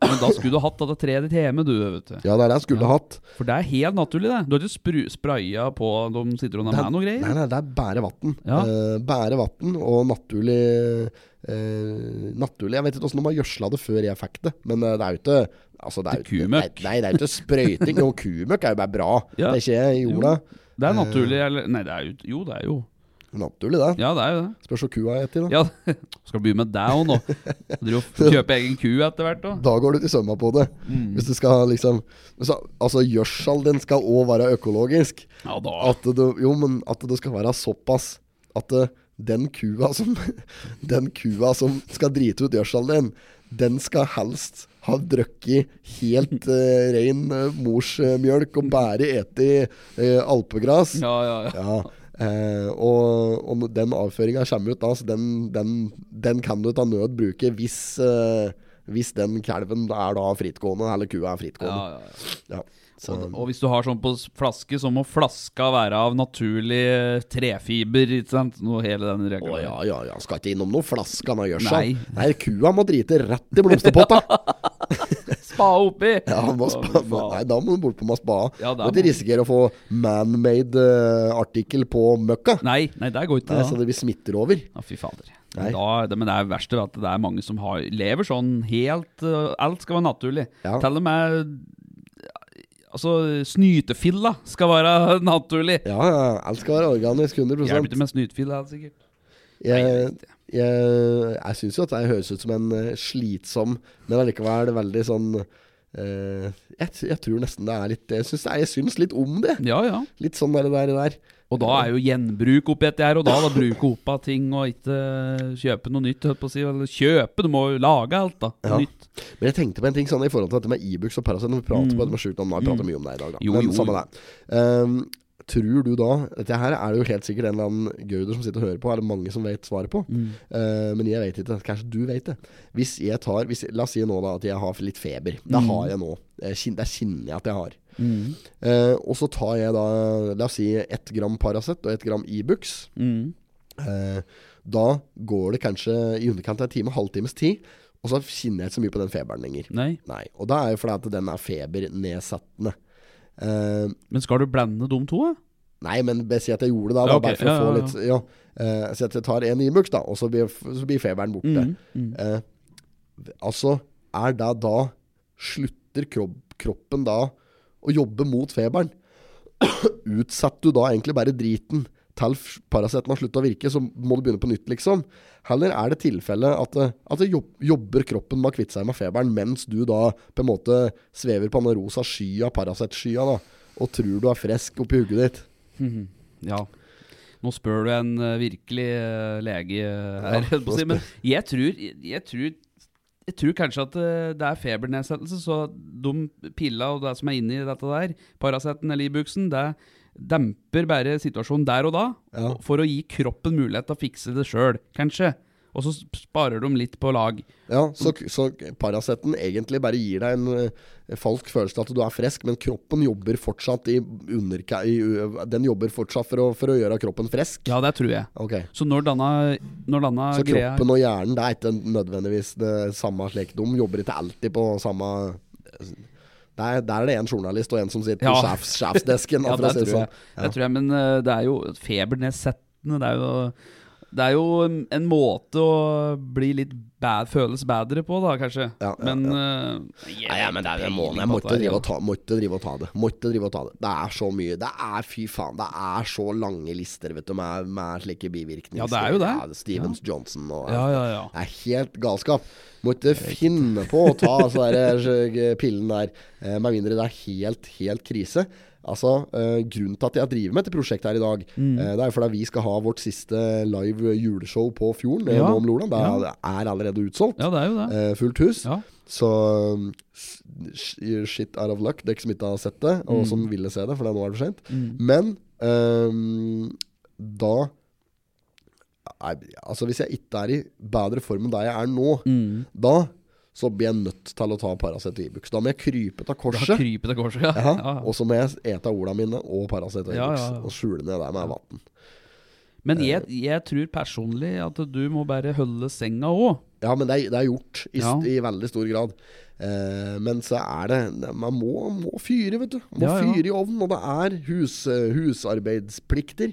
[SPEAKER 1] Men da skulle du hatt dette treet ditt hjemme, du, vet du.
[SPEAKER 2] Ja, det er det jeg skulle
[SPEAKER 1] Ja.
[SPEAKER 2] hatt.
[SPEAKER 1] For det er helt naturlig, det. Du har ikke spru- spraya på de sitronene med noe
[SPEAKER 2] Nei,
[SPEAKER 1] greier?
[SPEAKER 2] nei, det er bare vann. Eh,
[SPEAKER 1] Ja.
[SPEAKER 2] bare vann og naturlig eh, Naturlig Jeg vet ikke åssen de har gjødsla det før jeg fikk det, men eh, det er jo ikke Altså, det er
[SPEAKER 1] Til
[SPEAKER 2] jo ikke-
[SPEAKER 1] kumøkk.
[SPEAKER 2] Nei, nei, det er jo ikke sprøyting. Og kumøkk er jo bare bra.
[SPEAKER 1] Ja.
[SPEAKER 2] Det er ikke jorda.
[SPEAKER 1] Det er naturlig,
[SPEAKER 2] Eh.
[SPEAKER 1] eller Nei, det er jo Jo, det er jo
[SPEAKER 2] Naturlig, det.
[SPEAKER 1] Ja, det er jo det.
[SPEAKER 2] Spørs hva kua heter. Da.
[SPEAKER 1] Ja, skal begynne med deg òg nå. Driver og kjøper egen ku etter hvert òg.
[SPEAKER 2] da går du til sømma på det. Hvis du skal liksom så, Altså, gjødsel den skal òg være økologisk.
[SPEAKER 1] Ja da.
[SPEAKER 2] At det, jo, men at det skal være såpass at eh, den kua som Den kua som skal drite ut gjødselen din, den skal helst ha drukket helt eh, ren eh, morsmjølk og bare ete eh, alpegras.
[SPEAKER 1] Ja, ja, ja.
[SPEAKER 2] Ja, eh, og, og når den avføringa kommer ut da, så den, den, den kan du ta nød bruke hvis, eh, hvis den kalven er da frittgående, eller kua er
[SPEAKER 1] ja,
[SPEAKER 2] frittgående.
[SPEAKER 1] ja, ja.
[SPEAKER 2] Ja, så,
[SPEAKER 1] Og, og hvis du har sånn på s- flaske, så må flaska være av naturlig eh, trefiber, ikke sant? Noe hele den
[SPEAKER 2] å
[SPEAKER 1] regla.
[SPEAKER 2] ja, ja, ja. Skal ikke innom noe flaske av gjødsel. sånn. Nei.
[SPEAKER 1] Nei.
[SPEAKER 2] kua må drite rett i blomsterpotta.
[SPEAKER 1] Spa oppi!
[SPEAKER 2] Ja, må
[SPEAKER 1] Å,
[SPEAKER 2] spa,
[SPEAKER 1] fy faen.
[SPEAKER 2] nei, da må du bort på med spa.
[SPEAKER 1] Ja, da
[SPEAKER 2] og de
[SPEAKER 1] må-
[SPEAKER 2] risikerer å få man-made eh, artikkel på møkka. Nei,
[SPEAKER 1] Nei, nei, der går ikke
[SPEAKER 2] Så
[SPEAKER 1] det.
[SPEAKER 2] det blir smitter over.
[SPEAKER 1] Ja, fy fader.
[SPEAKER 2] Nei.
[SPEAKER 1] Da, det, men det er verst at det er mange som har, lever sånn helt eh, Alt skal være naturlig.
[SPEAKER 2] Ja.
[SPEAKER 1] Til og med eh, Altså, snytefilla skal være naturlig.
[SPEAKER 2] Ja, ja, alt skal være organisk. 100
[SPEAKER 1] Hjelper ikke med snytefilla, sikkert.
[SPEAKER 2] Jeg, jeg, jeg syns jo at jeg høres ut som en eh, slitsom, men allikevel veldig sånn eh, jeg, t- jeg tror nesten det er litt Jeg syns, jeg syns litt om det.
[SPEAKER 1] Ja, ja.
[SPEAKER 2] Litt sånn der, der, der.
[SPEAKER 1] Og da er jo gjenbruk oppi dette her, og da, da bruke opp av ting og ikke kjøpe noe nytt, holdt på å si. Eller kjøpe, du må jo lage alt, da.
[SPEAKER 2] Ja.
[SPEAKER 1] Nytt.
[SPEAKER 2] Men jeg tenkte på en ting sånn i forhold til dette med Ibux og Paracet. Når vi prater på dette med sjukdom, nå har vi pratet mye om det i dag, da.
[SPEAKER 1] Mm. Jo,
[SPEAKER 2] men
[SPEAKER 1] jo.
[SPEAKER 2] samme det. Ehm, tror du da Dette her er det jo helt sikkert en eller annen gauder som sitter og hører på, er det mange som vet svaret på.
[SPEAKER 1] Mm.
[SPEAKER 2] Eh, men jeg vet ikke. Kanskje du vet det. Hvis jeg tar hvis, La oss si nå da at jeg har litt feber. Det
[SPEAKER 1] Mm.
[SPEAKER 2] har jeg nå. Eh, kjen- Det kjenner jeg at jeg har. Eh, og så tar jeg da La oss si ett gram Paracet og ett gram Ibux.
[SPEAKER 1] Mm.
[SPEAKER 2] Eh, da går det kanskje i underkant av en time, halvtimes tid, og så kjenner jeg ikke så mye på den feberen lenger.
[SPEAKER 1] Nei.
[SPEAKER 2] Nei, og det er jo fordi at den er febernedsettende. Eh,
[SPEAKER 1] Men skal du blande de to, da?
[SPEAKER 2] nei, men bare si at jeg gjorde det, da.
[SPEAKER 1] Ja,
[SPEAKER 2] da,
[SPEAKER 1] ok.
[SPEAKER 2] Bare for
[SPEAKER 1] Ja,
[SPEAKER 2] å få
[SPEAKER 1] ja,
[SPEAKER 2] litt ja. Eh, Si at jeg tar en Ibux, da, og så blir, så blir feberen borte.
[SPEAKER 1] Mm, mm.
[SPEAKER 2] Eh, altså, er det da Slutter kropp, kroppen da å jobbe mot feberen? Utsetter du da egentlig bare driten til f- Paraceten har sluttet å virke, så må du begynne på nytt, liksom? Heller er det tilfellet at, det- at det jobb, jobber kroppen med å kvitte seg med feberen, mens du da på en måte svever på den rosa skya, Paracet-skya, da, og tror du er frisk oppi hugget ditt?
[SPEAKER 1] Ja. Nå spør du en eh, virkelig eh, lege eh, her, holdt på å si. Men jeg tror, jeg tror jeg tror kanskje at eh, det er febernedsettelse, så de pilla og det som er inni dette der, Paraceten eller Ibuxen, det demper bare situasjonen der og da,
[SPEAKER 2] Ja.
[SPEAKER 1] for å gi kroppen mulighet til å fikse det sjøl, kanskje. Og så sparer de litt på lag.
[SPEAKER 2] Ja, så, så Paraceten egentlig bare gir deg en eh, falsk følelse av at du er frisk, men kroppen jobber fortsatt i underka... I, ø- den jobber fortsatt for å, for å gjøre kroppen frisk?
[SPEAKER 1] Ja, det tror jeg.
[SPEAKER 2] Ok.
[SPEAKER 1] Så når denne, når denne
[SPEAKER 2] Så
[SPEAKER 1] greia
[SPEAKER 2] kroppen og hjernen det er ikke nødvendigvis det samme slik De jobber ikke alltid på samme Der, der er det en journalist og en som sitter
[SPEAKER 1] Ja.
[SPEAKER 2] på sjefs, sjefsdesken.
[SPEAKER 1] Ja,
[SPEAKER 2] for å
[SPEAKER 1] det
[SPEAKER 2] si det
[SPEAKER 1] tror jeg.
[SPEAKER 2] sånn.
[SPEAKER 1] Det tror jeg men eh, det er jo febernedsettende. Det er jo, det er jo en, en måte å bli litt bad, føles bedre på, da, kanskje.
[SPEAKER 2] Ja, ja,
[SPEAKER 1] men eh,
[SPEAKER 2] Nei, ja, men det er jo en måned. Jeg måtte drive og ta, måtte drive og ta det. Måtte drive og ta det. Det er så mye. Det er fy faen, det er så lange lister vet du, med, med slike bivirkninger.
[SPEAKER 1] Ja, det er jo det.
[SPEAKER 2] Ja, Stevens Johnson og
[SPEAKER 1] Ja, ja, ja.
[SPEAKER 2] Det er helt galskap. Måtte finne på å ta altså, der, eh, pillen der, eh, med mindre det er helt, helt krise. Altså, eh, Grunnen til at jeg driver med dette prosjektet her i dag,
[SPEAKER 1] Mm.
[SPEAKER 2] eh, det er jo fordi vi skal ha vårt siste live juleshow på Fjorden eh,
[SPEAKER 1] Ja.
[SPEAKER 2] nå om Loland. Det er, er allerede utsolgt.
[SPEAKER 1] Ja, det er jo det.
[SPEAKER 2] Eh, fullt hus.
[SPEAKER 1] Ja.
[SPEAKER 2] Så um, s- sh- shit out of luck, dere som ikke har sett det, og
[SPEAKER 1] Mm.
[SPEAKER 2] som ville se det, for det nå er det for sent. Men um, da
[SPEAKER 1] Mm.
[SPEAKER 2] Nei, Altså, hvis jeg ikke er i bedre form enn der jeg er nå, da så blir jeg nødt til å ta Paracet og Ibux. Da må jeg krype av
[SPEAKER 1] Da
[SPEAKER 2] korset.
[SPEAKER 1] kryper det korset, ja.
[SPEAKER 2] Ja,
[SPEAKER 1] Ja.
[SPEAKER 2] og så må jeg ete orda mine og Paracet og Ibux.
[SPEAKER 1] Ja, ja, ja.
[SPEAKER 2] Og skjule ned der med vann. eh,
[SPEAKER 1] Men jeg, jeg tror personlig at du må bare holde senga òg.
[SPEAKER 2] Ja, men det er, det er gjort i,
[SPEAKER 1] Ja.
[SPEAKER 2] i veldig stor grad. Eh, men så er det Man må, må fyre, vet du. Må
[SPEAKER 1] Ja, ja.
[SPEAKER 2] fyre i ovnen. Og det er hus, eh, husarbeidsplikter.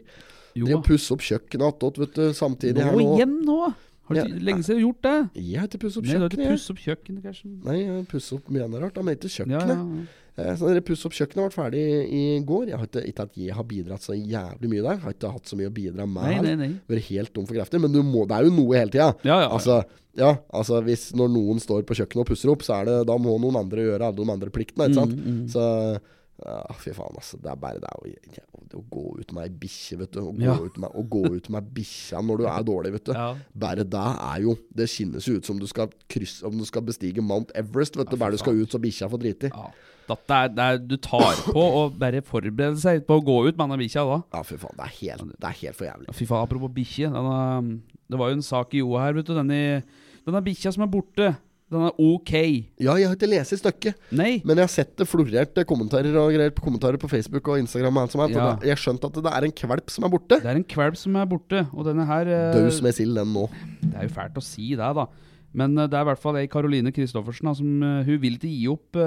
[SPEAKER 1] Jo,
[SPEAKER 2] De må pusse opp kjøkkenet igjen, vet du, samtidig
[SPEAKER 1] nå
[SPEAKER 2] her nå.
[SPEAKER 1] igjen nå! Har du
[SPEAKER 2] Ja.
[SPEAKER 1] lenge siden gjort det?
[SPEAKER 2] Jeg har ikke pusset opp
[SPEAKER 1] Nei, du har ikke
[SPEAKER 2] kjøkkenet. jeg.
[SPEAKER 1] pusset opp kjøkkenet, kanskje?
[SPEAKER 2] Nei, jeg har pusset opp mye annet rart, da, men ikke
[SPEAKER 1] Ja, ja.
[SPEAKER 2] kjøkkenet. Eh, Så dere Puss opp kjøkkenet ble ferdig i går. Jeg har ikke, ikke at jeg har bidratt så jævlig mye der. Jeg har ikke hatt så mye å bidra med.
[SPEAKER 1] Nei, nei, nei.
[SPEAKER 2] Vært helt tom for krefter. Men du må, det er jo noe hele tida.
[SPEAKER 1] Ja, ja, ja.
[SPEAKER 2] Altså, ja, altså hvis når noen står på kjøkkenet og pusser opp, så er det, da må noen andre gjøre alle de andre pliktene. Ikke sant?
[SPEAKER 1] Mm,
[SPEAKER 2] Så ja, fy faen, altså. Det er bare det å, å gå ut med ei bikkje, vet du. Å gå,
[SPEAKER 1] Ja.
[SPEAKER 2] ut med, å gå ut med bikkja når du er dårlig, vet du.
[SPEAKER 1] Ja.
[SPEAKER 2] Bare det er jo Det skinnes jo ut som du skal krysse Om du skal bestige Mount Everest, vet du. Bare du skal ut så bikkja får drite i.
[SPEAKER 1] ja. Dette er, det er, du tar på og bare forbereder seg på å gå ut med denne bikkja da.
[SPEAKER 2] Ja, fy faen. Det er helt, det er helt for jævlig.
[SPEAKER 1] Fy faen, apropos bikkje. denne- Det var jo en sak i Joa her, vet du. Denne, denne bikkja som er borte, den er OK.
[SPEAKER 2] Ja, jeg har ikke lest i stykket,
[SPEAKER 1] Nei.
[SPEAKER 2] men jeg har sett det florert eh, kommentarer og greier på kommentarer på Facebook og Instagram. Og alt som er, for
[SPEAKER 1] Ja.
[SPEAKER 2] det- Jeg skjønte at det er en kvalp som er borte.
[SPEAKER 1] Det er en kvalp som er borte, og denne her eh,
[SPEAKER 2] Daus med sild, den nå.
[SPEAKER 1] Det er jo fælt å si det, da. Men eh, det er i hvert fall ei Karoline Christoffersen da, som eh, hun vil ikke gi opp, eh,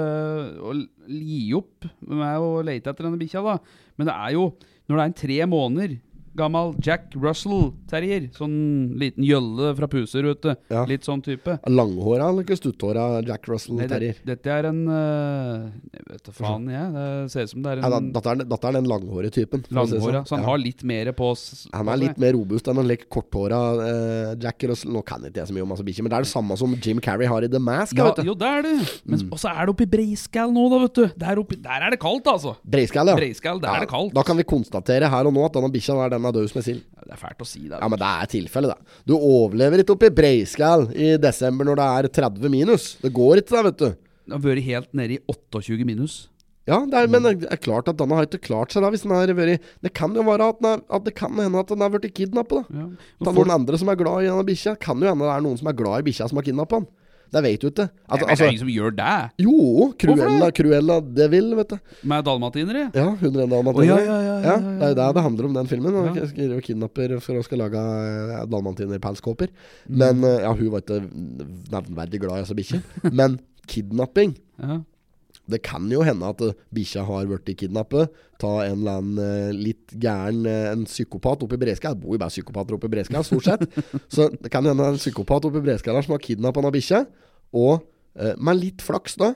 [SPEAKER 1] å l- gi opp med å lete etter denne bikkja. da. Men det er jo, når det er en tre måneder gammel Jack Russell-terrier, sånn liten gjølle fra puser, vet du.
[SPEAKER 2] Ja.
[SPEAKER 1] Litt sånn type.
[SPEAKER 2] Langhåra eller ikke stutthåra Jack
[SPEAKER 1] Nei, det,
[SPEAKER 2] Russell-terrier?
[SPEAKER 1] dette er en eh, Jeg vet da faen, jeg. Det ser ut som det er
[SPEAKER 2] Ja, da-
[SPEAKER 1] en
[SPEAKER 2] Dette er, dette er den langhårige typen. for å si det
[SPEAKER 1] langhåra.
[SPEAKER 2] sånn.
[SPEAKER 1] Så han
[SPEAKER 2] Ja.
[SPEAKER 1] har litt mer på s- altså.
[SPEAKER 2] han er
[SPEAKER 1] på seg.
[SPEAKER 2] litt mer robust enn en litt korthåra eh, Jack Russell. Nå kan ikke jeg så mye om masse bikkjer, men det er det samme som Jim Carrey har i The Mask.
[SPEAKER 1] ja,
[SPEAKER 2] vet du. Mm.
[SPEAKER 1] Jo, det er det. Men s- Og så er det oppe i Breiskall nå, da, vet du. Der, oppe, der er det kaldt, altså.
[SPEAKER 2] Breiskall, ja.
[SPEAKER 1] Breiskall, der er det kaldt.
[SPEAKER 2] Da kan vi konstatere her og nå at denne bikkja der, den er daus med sild.
[SPEAKER 1] Det er fælt å si det.
[SPEAKER 2] Ja, men det er tilfellet, da. Du overlever ikke oppe i Breiskall i desember når det er 30 minus. Det går ikke, da, vet du.
[SPEAKER 1] Det har vært helt nede i 28 minus.
[SPEAKER 2] Ja, det er, men det er klart at denne har ikke klart seg da, hvis den har vært Det kan jo være at, den er, at det kan hende at den har blitt kidnappa, da.
[SPEAKER 1] Ja.
[SPEAKER 2] Det er noen andre som er glad i denne bikkja. Kan jo hende det er noen som er glad i bikkja som har kidnappa den. Det vet du ikke. At,
[SPEAKER 1] det er
[SPEAKER 2] altså,
[SPEAKER 1] ingen som gjør det
[SPEAKER 2] jo, Cruella,
[SPEAKER 1] Hvorfor
[SPEAKER 2] Cruella de vil, vet du.
[SPEAKER 1] med dalmatinere.
[SPEAKER 2] Ja, 101 dalmatiner.
[SPEAKER 1] Å, ja, ja, ja, ja, ja,
[SPEAKER 2] Det er jo det det handler om, den filmen.
[SPEAKER 1] Ja.
[SPEAKER 2] Ja. Skriver og kidnapper for å skal lage eh, dalmatinerpelskåper.
[SPEAKER 1] Mm.
[SPEAKER 2] Men eh, ja, hun var ikke nevnverdig glad i altså bikkje. Men kidnapping
[SPEAKER 1] Ja.
[SPEAKER 2] Det kan jo hende at eh, bikkja har blitt kidnappet. Ta en eller annen eh, litt gæren eh, En psykopat oppe i Breska. Det bor jo bare psykopater oppe i Breska, stort sett. Så det kan hende det er en psykopat oppe i Breska der som har kidnappa denne bikkja. Og eh, med litt flaks, da,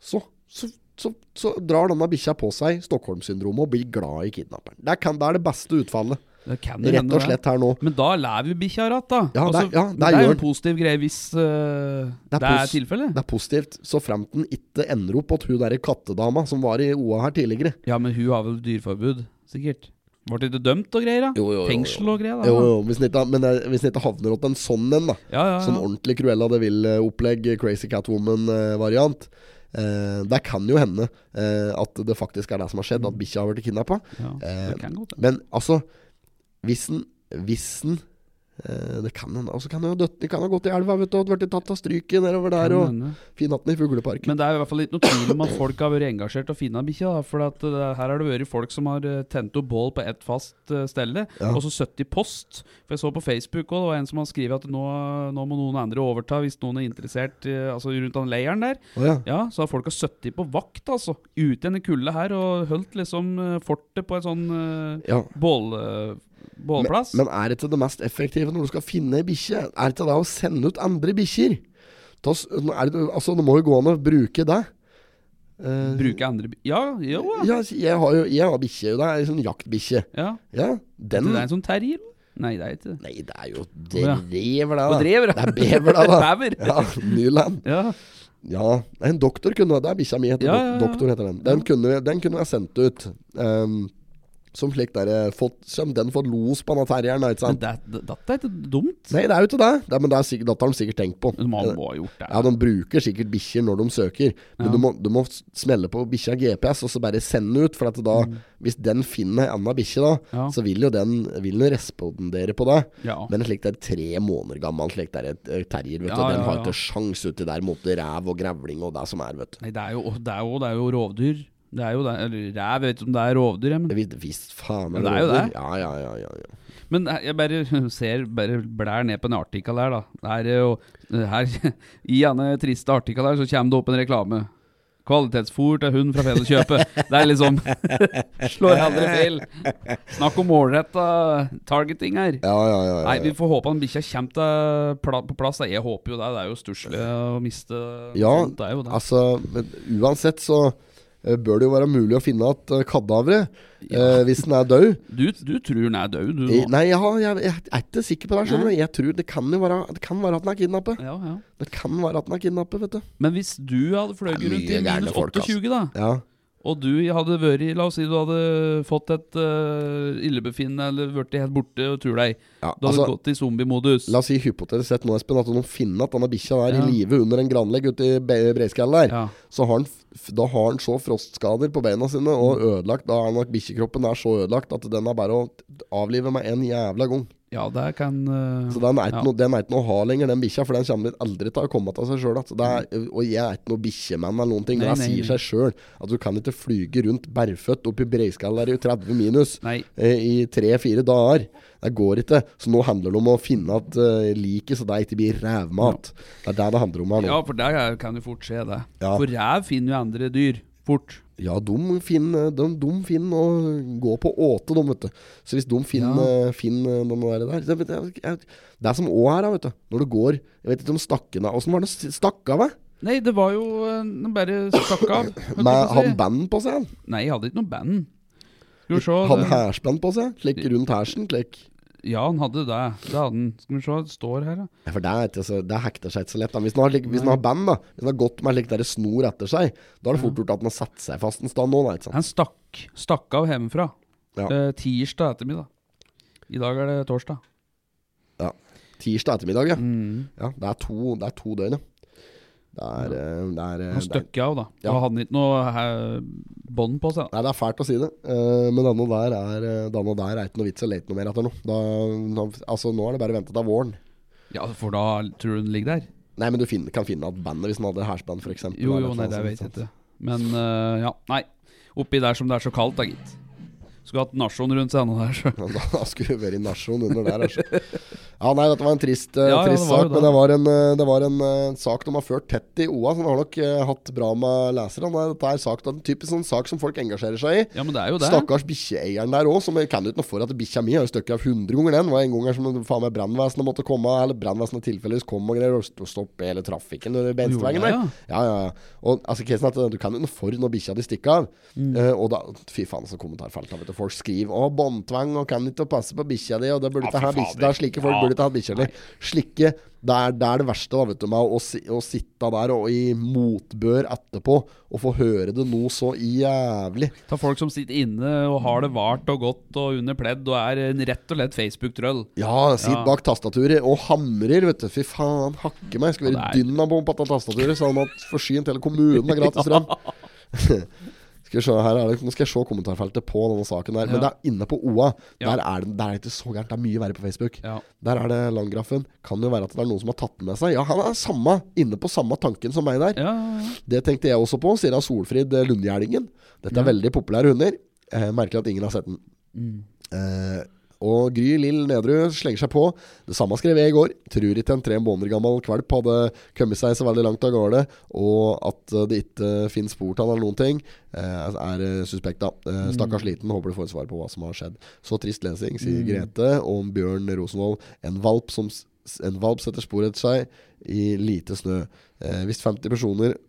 [SPEAKER 2] så, så, så, så drar denne bikkja på seg Stockholm-syndromet og blir glad i kidnapperen. Det, kan, det er det beste utfallet.
[SPEAKER 1] Det kan det
[SPEAKER 2] Rett
[SPEAKER 1] hende,
[SPEAKER 2] og slett her nå.
[SPEAKER 1] det. Men da lever bikkja ratt, da.
[SPEAKER 2] Ja, det- ja,
[SPEAKER 1] men
[SPEAKER 2] det
[SPEAKER 1] det er
[SPEAKER 2] gjør
[SPEAKER 1] jo
[SPEAKER 2] den.
[SPEAKER 1] en positiv greie hvis eh,
[SPEAKER 2] Det er
[SPEAKER 1] det er
[SPEAKER 2] pos-
[SPEAKER 1] tilfellet.
[SPEAKER 2] Det er positivt, så fremt den ikke ender opp hos hun derre kattedama som var i OA her tidligere.
[SPEAKER 1] Ja, men hun har vel dyreforbud, sikkert. Ble ikke dømt og greier, da?
[SPEAKER 2] Jo, jo, jo, jo.
[SPEAKER 1] Fengsel og greier, da?
[SPEAKER 2] Jo, jo, hvis den ikke, men eh, hvis den ikke havner hos en sånn en, da.
[SPEAKER 1] Ja, ja, ja.
[SPEAKER 2] Sånn ordentlig Cruella de Vil-opplegg, Crazy Catwoman-variant. Eh, det kan jo hende eh, at det faktisk er det som har skjedd, at bikkja har blitt kidnappa.
[SPEAKER 1] Ja,
[SPEAKER 2] Eh,
[SPEAKER 1] det kan godt hende.
[SPEAKER 2] Men altså, hvis den Hvis den eh, Det kan hende. Altså, kan den jo døtt, den kan ha gått i elva, vet du, og blitt tatt av stryket nedover der,
[SPEAKER 1] Kan
[SPEAKER 2] og
[SPEAKER 1] hende.
[SPEAKER 2] fin natten i fugleparken.
[SPEAKER 1] Men det er i hvert fall ikke noe tvil om at folk har vært engasjert og finnet bikkja. da, For at eh, her har det vært folk som har eh, tent opp bål på ett fast eh, stelle,
[SPEAKER 2] Ja.
[SPEAKER 1] og så 70 post. For jeg så på Facebook også, det var en som har skrevet at nå, nå må noen andre overta hvis noen er interessert eh, altså rundt den leiren der.
[SPEAKER 2] Å ja.
[SPEAKER 1] Ja, så har folk har 70 på vakt, altså. Ute i kulda her og holdt liksom eh, fortet på en sånn eh,
[SPEAKER 2] ja.
[SPEAKER 1] bål, eh,
[SPEAKER 2] Men,
[SPEAKER 1] bålplass.
[SPEAKER 2] men er ikke det mest effektive når du skal finne ei bikkje, er ikke det å sende ut andre bikkjer? Ta s- nå er det- Altså, det må jo gå an å bruke det. Eh,
[SPEAKER 1] Bruke andre bi- Ja, jo ja.
[SPEAKER 2] Ja, altså, jeg har jo jeg har bikkje. Det er en sånn jaktbikkje.
[SPEAKER 1] ja.
[SPEAKER 2] Ja, den
[SPEAKER 1] Det er en sånn terrier? Nei, det er ikke det.
[SPEAKER 2] Nei, det er jo
[SPEAKER 1] ja.
[SPEAKER 2] drever, det.
[SPEAKER 1] Og
[SPEAKER 2] da.
[SPEAKER 1] drever,
[SPEAKER 2] Det er bever, det, da.
[SPEAKER 1] Bever.
[SPEAKER 2] Ja, Nyland.
[SPEAKER 1] Ja.
[SPEAKER 2] Ja, det er en doktor kunne Det er bikkja mi heter
[SPEAKER 1] Ja,
[SPEAKER 2] dok-
[SPEAKER 1] ja, ja.
[SPEAKER 2] doktor, heter den. Den kunne, den kunne jeg sendt ut. Um, Som slik der, eh, fått, som den fått los på denne terrieren, da, ikke
[SPEAKER 1] Men
[SPEAKER 2] sant?
[SPEAKER 1] det, det, dette er ikke dumt.
[SPEAKER 2] Nei, det er jo ikke det. det er, men det, er sikkert, dette har de sikkert tenkt på. Eh,
[SPEAKER 1] Man må ha gjort det.
[SPEAKER 2] Ja, De bruker sikkert bikkjer når de søker, men
[SPEAKER 1] Ja.
[SPEAKER 2] du, må, du må smelle på bikkja GPS og så bare sende ut. For at da, hvis den finner ei anna bikkje, da,
[SPEAKER 1] Mm. Ja.
[SPEAKER 2] så vil jo den vil den respondere på det.
[SPEAKER 1] Ja.
[SPEAKER 2] Men en slik der tre måneder gammel slik der et eh, terrier, vet
[SPEAKER 1] Ja,
[SPEAKER 2] du,
[SPEAKER 1] ja,
[SPEAKER 2] den har
[SPEAKER 1] ja.
[SPEAKER 2] ikke sjans uti der mot ræv og grevling og det som er, vet du.
[SPEAKER 1] Nei, det er jo, det er jo, det er jo rovdyr. Det er jo det, eller ræv, jeg vet ikke om det er rovdyr, jeg, men,
[SPEAKER 2] Det vis- Visst faen
[SPEAKER 1] Men Mm. det er jo
[SPEAKER 2] rådyr.
[SPEAKER 1] det.
[SPEAKER 2] Ja, ja, ja, ja, ja.
[SPEAKER 1] men jeg bare ser bare blær ned på den artikkel her, da. Her, er jo, her, I denne triste artikkel her så kommer det opp en reklame. Kvalitetsfôr til hund fra Felleskjøpet. Det er liksom Slår aldri feil. Snakk om målretta targeting her.
[SPEAKER 2] ja, ja, ja, ja,
[SPEAKER 1] Nei,
[SPEAKER 2] ja.
[SPEAKER 1] vi får håpe han bikkja kommer til pla på plass. da. Jeg håper jo det. Det er jo stusslig å miste
[SPEAKER 2] Ja,
[SPEAKER 1] sånt, det er jo det.
[SPEAKER 2] Altså, men uansett så eh, bør det jo være mulig å finne igjen kadaveret eh, hvis den er død.
[SPEAKER 1] Du, du tror den er død, du
[SPEAKER 2] I-
[SPEAKER 1] nå.
[SPEAKER 2] Nei, jeg, har- jeg, jeg er ikke sikker på det. her, skjønner du Jeg tror Det kan jo være Det kan være at den er kidnappet.
[SPEAKER 1] Ja, ja.
[SPEAKER 2] Det kan være at den er kidnappet, vet du.
[SPEAKER 1] Men hvis du hadde fløyet
[SPEAKER 2] Det er
[SPEAKER 1] rundt i
[SPEAKER 2] mye gærne
[SPEAKER 1] minus
[SPEAKER 2] folk, ass.
[SPEAKER 1] 28, da,
[SPEAKER 2] Ja,
[SPEAKER 1] og du hadde vært i La oss si du hadde fått et uh, illebefinnende eller blitt helt borte og tur deg.
[SPEAKER 2] ja
[SPEAKER 1] Du hadde
[SPEAKER 2] altså
[SPEAKER 1] gått i zombiemodus.
[SPEAKER 2] La oss si hypotetisk sett nå, Espen, at noen finner at denne bikkja der
[SPEAKER 1] Ja.
[SPEAKER 2] i live under en granlegg ute i Be- Breiskallet der.
[SPEAKER 1] Ja.
[SPEAKER 2] Så har han, f- da har han så frostskader på beina sine og
[SPEAKER 1] Mm.
[SPEAKER 2] ødelagt Da er nok bikkjekroppen er så ødelagt at den er bare å avlive med en jævla gang.
[SPEAKER 1] ja, det kan eh,
[SPEAKER 2] Så den er ikke
[SPEAKER 1] ja.
[SPEAKER 2] noe- den er ikke noe å ha lenger, den bikkja, for den kommer aldri til å komme til seg sjøl. Og jeg er ikke noe bikkjemann eller noen ting.
[SPEAKER 1] Nei,
[SPEAKER 2] Det
[SPEAKER 1] nei,
[SPEAKER 2] sier
[SPEAKER 1] nei.
[SPEAKER 2] seg sjøl at du kan ikke flyge rundt bærføtt opp i Breiskall der i 30 minus
[SPEAKER 1] Nei.
[SPEAKER 2] eh, i tre-fire dager. Det går ikke. Så nå handler det om å finne at eh, liket så det ikke blir rævmat. Det er det det handler om her
[SPEAKER 1] Ja,
[SPEAKER 2] nå.
[SPEAKER 1] for der er- kan jo fort skje det.
[SPEAKER 2] Ja.
[SPEAKER 1] For ræv finner jo andre dyr fort.
[SPEAKER 2] Ja, eh, de finner de, de finner å gå på åte, de, vet du. Så hvis eh, de finner, finner den der, der så vet jeg- jeg- Det er som òg her, da, vet du. Når du går Jeg vet ikke om stakkene Åssen var det st- stakk av, meg?
[SPEAKER 1] Nei, det var jo eh, Den bare stakk av. holdt jeg
[SPEAKER 2] Med
[SPEAKER 1] på å si.
[SPEAKER 2] han band på seg? han.
[SPEAKER 1] Nei, jeg hadde ikke noe band. Skal vi se
[SPEAKER 2] Hadde
[SPEAKER 1] det-
[SPEAKER 2] hærspenn på seg? Slik rundt hersen? Slik.
[SPEAKER 1] Ja, han hadde det. Det hadde han. Skal vi se, det står her, da.
[SPEAKER 2] Ja, for det, er ikke så, det hekter seg ikke så lett. Da. Hvis den har, slik- hvis den har band, da Hvis den har gått med slik der snor etter seg, da er det fort gjort at den har satt seg fast en stund nå, da. Ikke sant?
[SPEAKER 1] Han stakk, stakk av hjemmefra.
[SPEAKER 2] Ja.
[SPEAKER 1] Eh, tirsdag ettermiddag. I dag er det torsdag.
[SPEAKER 2] Ja. Tirsdag ettermiddag,
[SPEAKER 1] Mm.
[SPEAKER 2] ja. ja det, er to, det er to døgn, ja. Det er, eh, det er, eh,
[SPEAKER 1] Han
[SPEAKER 2] det er
[SPEAKER 1] støkk av, da.
[SPEAKER 2] Ja.
[SPEAKER 1] Og hadde ikke noe eh, bånd på seg. da.
[SPEAKER 2] Nei, det er fælt å si det, eh, men denne der er eh, Denne der er ikke noe vits å lete noe mer etter nå. Da, nå altså, nå er det bare ventet av våren.
[SPEAKER 1] Ja, For da tror du den ligger der?
[SPEAKER 2] Nei, men du finner, kan finne at bandet, hvis den hadde hærspenn, f.eks.
[SPEAKER 1] Jo, jo,
[SPEAKER 2] sånn
[SPEAKER 1] nei, det vet jeg ikke. Men eh, ja, nei. Oppi der som det er så kaldt, da, gitt. Skulle hatt nasjon rundt scenen der, så.
[SPEAKER 2] Ja, Da skulle vi vært i nasjon under der. Altså. Ja, nei, dette var en trist, eh,
[SPEAKER 1] Ja, ja,
[SPEAKER 2] trist
[SPEAKER 1] det var jo
[SPEAKER 2] sak,
[SPEAKER 1] det.
[SPEAKER 2] men det var en, eh, det var en eh, sak de har ført tett i OA, så de har nok eh, hatt bra med lesere. Nei, Dette er sak, det er en typisk sånn sak som folk engasjerer seg i.
[SPEAKER 1] Ja, men det er jo det.
[SPEAKER 2] Stakkars bikkjeeieren der òg, som jeg kan ikke noe for at bikkja mi har jo støkket av 100 ganger den. Det var en gang her som faen meg brannvesenet måtte komme, eller brannvesenet tilfeldigvis kom og greier, og st- og stoppe hele trafikken under bensinveien
[SPEAKER 1] Gjorde
[SPEAKER 2] der.
[SPEAKER 1] det,
[SPEAKER 2] Ja, ja, ja. Og altså, casen er at du kan jo noe for når bikkja di stikker av.
[SPEAKER 1] Mm.
[SPEAKER 2] Eh, og da Fy faen, så kommentarfelt da, vet du. Folk skriver 'Å, båndtvang, og kan ikke passe på bikkja di', og det burde
[SPEAKER 1] Ja,
[SPEAKER 2] ikke
[SPEAKER 1] fy
[SPEAKER 2] ha bikkja
[SPEAKER 1] fader.
[SPEAKER 2] Det er slike folk
[SPEAKER 1] Ja.
[SPEAKER 2] burde ikke ha bikkja di. Slike det er, det er det verste, da, vet du, med å, si, å sitte der og i motbør etterpå og få høre det noe så jævlig.
[SPEAKER 1] Ta folk som sitter inne og har det vart og godt og under pledd og er en rett og lett Facebook-trøll.
[SPEAKER 2] Ja, sitt
[SPEAKER 1] Ja.
[SPEAKER 2] bak tastaturet og hamrer, vet du. Fy faen, hakke meg. Jeg skulle
[SPEAKER 1] Ja,
[SPEAKER 2] være
[SPEAKER 1] det er-
[SPEAKER 2] dynamo på dette tastaturet, så hadde man hatt forsynt hele kommunen med gratis strøm. skal vi se, her er det, nå skal jeg se kommentarfeltet på denne saken der. Men det
[SPEAKER 1] Ja.
[SPEAKER 2] er inne på OA.
[SPEAKER 1] Ja.
[SPEAKER 2] Der, er det, der er det ikke så gærent. Det er mye verre på Facebook.
[SPEAKER 1] Ja.
[SPEAKER 2] Der er det langgrafen. Kan jo være at det er noen som har tatt den med seg. Ja, han er samme, inne på samme tanken som meg der.
[SPEAKER 1] Ja, ja, ja.
[SPEAKER 2] Det tenkte jeg også på, sier av Solfrid eh, Lundgjerdingen. Dette er veldig populære hunder. Eh, merkelig at ingen har sett den. Eh, og Gry Lill Nedrud slenger seg på. Det samme skrev jeg i går. Tror ikke en tre måneder gammel kvalp hadde kommet seg så veldig langt av gårde, og at eh, det ikke finnes spor til han eller noen ting, eh, er eh, suspekt, da. Eh, stakkars liten, håper du får et svar på hva som har skjedd. Så trist lesing, sier Grete om Bjørn Rosenvold. En valp som s- en valp setter spor etter seg i lite snø. Eh, hvis 50 personer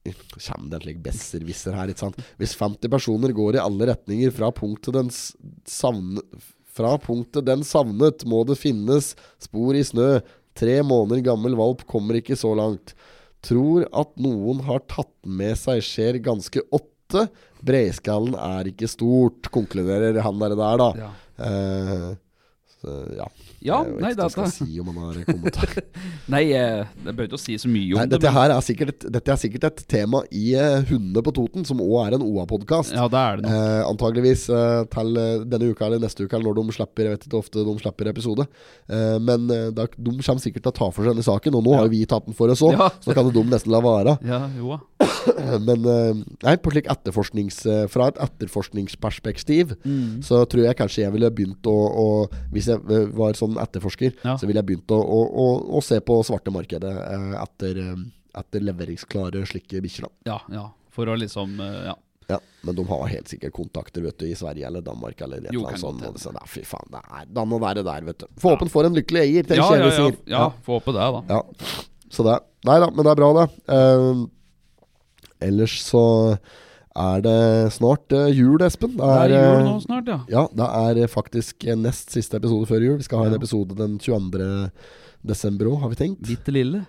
[SPEAKER 2] Kjem det en slik besserwisser her, ikke sant? Hvis 50 personer går i alle retninger fra punktet den s- savne, Fra punktet den savnet, må det finnes spor i snø. Tre måneder gammel valp kommer ikke så langt. Tror at noen har tatt den med seg, skjer ganske ofte. åtte. Breiskallen er ikke stort, konkluderer han der, der da.
[SPEAKER 1] Ja,
[SPEAKER 2] Eh, så, ja.
[SPEAKER 1] ja
[SPEAKER 2] Jeg
[SPEAKER 1] nei,
[SPEAKER 2] vet ikke hva jeg
[SPEAKER 1] dette
[SPEAKER 2] skal si om han har kommentar.
[SPEAKER 1] Nei, eh, jeg behøver ikke å si så mye om
[SPEAKER 2] Nei,
[SPEAKER 1] det.
[SPEAKER 2] dette, her er sikkert, et- dette er sikkert et tema i eh, Hundene på Toten, som òg er en OA-podkast.
[SPEAKER 1] Ja, det er det nå.
[SPEAKER 2] Eh, antageligvis eh, til eh, denne uka eller neste uke, eller når de slipper. Jeg vet ikke ofte de slipper episode. Eh, men eh, da, de kommer sikkert til å ta for seg denne saken, og nå har jo vi tatt den for oss òg,
[SPEAKER 1] Ja.
[SPEAKER 2] så da kan jo de nesten la være.
[SPEAKER 1] Ja, jo da.
[SPEAKER 2] Men eh, nei, på slik etterforsknings, eh, fra et etterforskningsperspektiv
[SPEAKER 1] Mm.
[SPEAKER 2] så tror jeg kanskje jeg ville begynt å, å Hvis jeg eh, var sånn etterforsker,
[SPEAKER 1] Ja.
[SPEAKER 2] så ville jeg begynt å, å, å, å se på svarte markedet eh, etter, eh, etter leveringsklare slike bikkjer. da.
[SPEAKER 1] Ja, ja. For å liksom eh, Ja.
[SPEAKER 2] Ja, men de har helt sikkert kontakter vet du, i Sverige eller Danmark eller et
[SPEAKER 1] Jo,
[SPEAKER 2] eller annet
[SPEAKER 1] kan
[SPEAKER 2] sånt.
[SPEAKER 1] godt
[SPEAKER 2] og det- Så, da, fy faen, det er, da må være der, vet du. Forhåpent får en lykkelig
[SPEAKER 1] Ja,
[SPEAKER 2] eier, tenker
[SPEAKER 1] ja,
[SPEAKER 2] jeg vi
[SPEAKER 1] ja,
[SPEAKER 2] sier.
[SPEAKER 1] ja, få håpe det, da.
[SPEAKER 2] Ja. Så det Nei da, men det er bra, det. Eh, ellers så er det snart eh, jul, Espen. Det
[SPEAKER 1] Det
[SPEAKER 2] er,
[SPEAKER 1] er jul
[SPEAKER 2] eh,
[SPEAKER 1] nå snart, ja.
[SPEAKER 2] Ja, det er eh, faktisk eh, nest siste episode før jul. Vi skal ha en
[SPEAKER 1] Ja.
[SPEAKER 2] episode den 22. desember òg, har vi tenkt.
[SPEAKER 1] Bitte lille.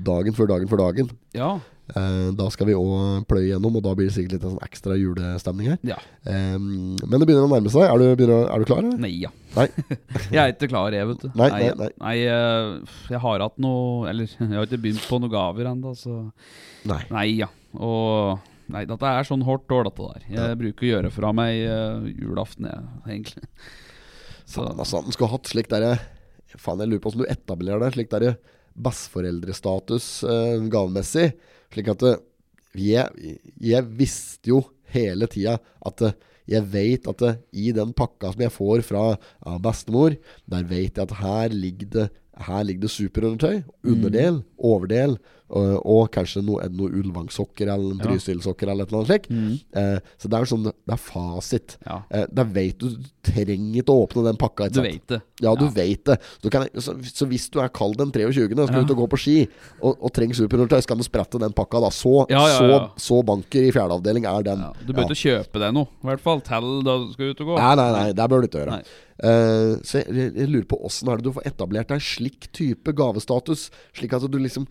[SPEAKER 2] Dagen før dagen før dagen.
[SPEAKER 1] Ja.
[SPEAKER 2] Eh, da skal vi òg pløye gjennom, og da blir det sikkert litt en sånn ekstra julestemning her.
[SPEAKER 1] ja.
[SPEAKER 2] Eh, men det begynner å nærme seg. Er du, begynner, å- er du klar? eller?
[SPEAKER 1] Nei, ja.
[SPEAKER 2] Nei.
[SPEAKER 1] Jeg er ikke klar, jeg, vet du.
[SPEAKER 2] Nei, nei, nei.
[SPEAKER 1] eh, jeg har hatt noe Eller, jeg har ikke begynt på noen gaver ennå, så
[SPEAKER 2] Nei.
[SPEAKER 1] Nei, ja. Og Nei, dette er sånn hardt år, dette der. Jeg bruker å gjøre fra meg eh, julaften, jeg, egentlig. Så
[SPEAKER 2] Faen, altså, den skulle hatt slik derre Faen, jeg lurer på hvordan du etablerer det. Slik derre besteforeldrestatus eh, gavemessig. Slik at eh, jeg, jeg visste jo hele tida at eh, jeg veit at eh, i den pakka som jeg får fra ja, bestemor, der veit jeg at her ligger det her ligger det superundertøy. Underdel,
[SPEAKER 1] Mm.
[SPEAKER 2] overdel, og, og kanskje noe, noe ullvangsokker eller en
[SPEAKER 1] Ja. Mm.
[SPEAKER 2] Trysilsokker eller et eller annet slikt. Eh, så det er jo sånn Det er fasit.
[SPEAKER 1] Ja.
[SPEAKER 2] Eh, da veit du du trenger ikke å åpne den pakka. Ikke
[SPEAKER 1] du
[SPEAKER 2] sant?
[SPEAKER 1] veit det.
[SPEAKER 2] Ja, du vet det. Så, du kan, så, så hvis du er kald den 23. og
[SPEAKER 1] Ja.
[SPEAKER 2] skal ut og gå på ski, og, og trenger superundertøy, så kan du sprette den pakka. da Så,
[SPEAKER 1] Ja, ja, ja.
[SPEAKER 2] så, så banker i fjerde avdeling er den.
[SPEAKER 1] Ja, du bør ikke kjøpe deg noe, i hvert fall til da du skal ut og gå.
[SPEAKER 2] Nei, nei, nei, det bør du ikke gjøre.
[SPEAKER 1] Nei.
[SPEAKER 2] Eh, så jeg, jeg, jeg lurer på åssen er det du får etablert deg slik type gavestatus? Slik at du liksom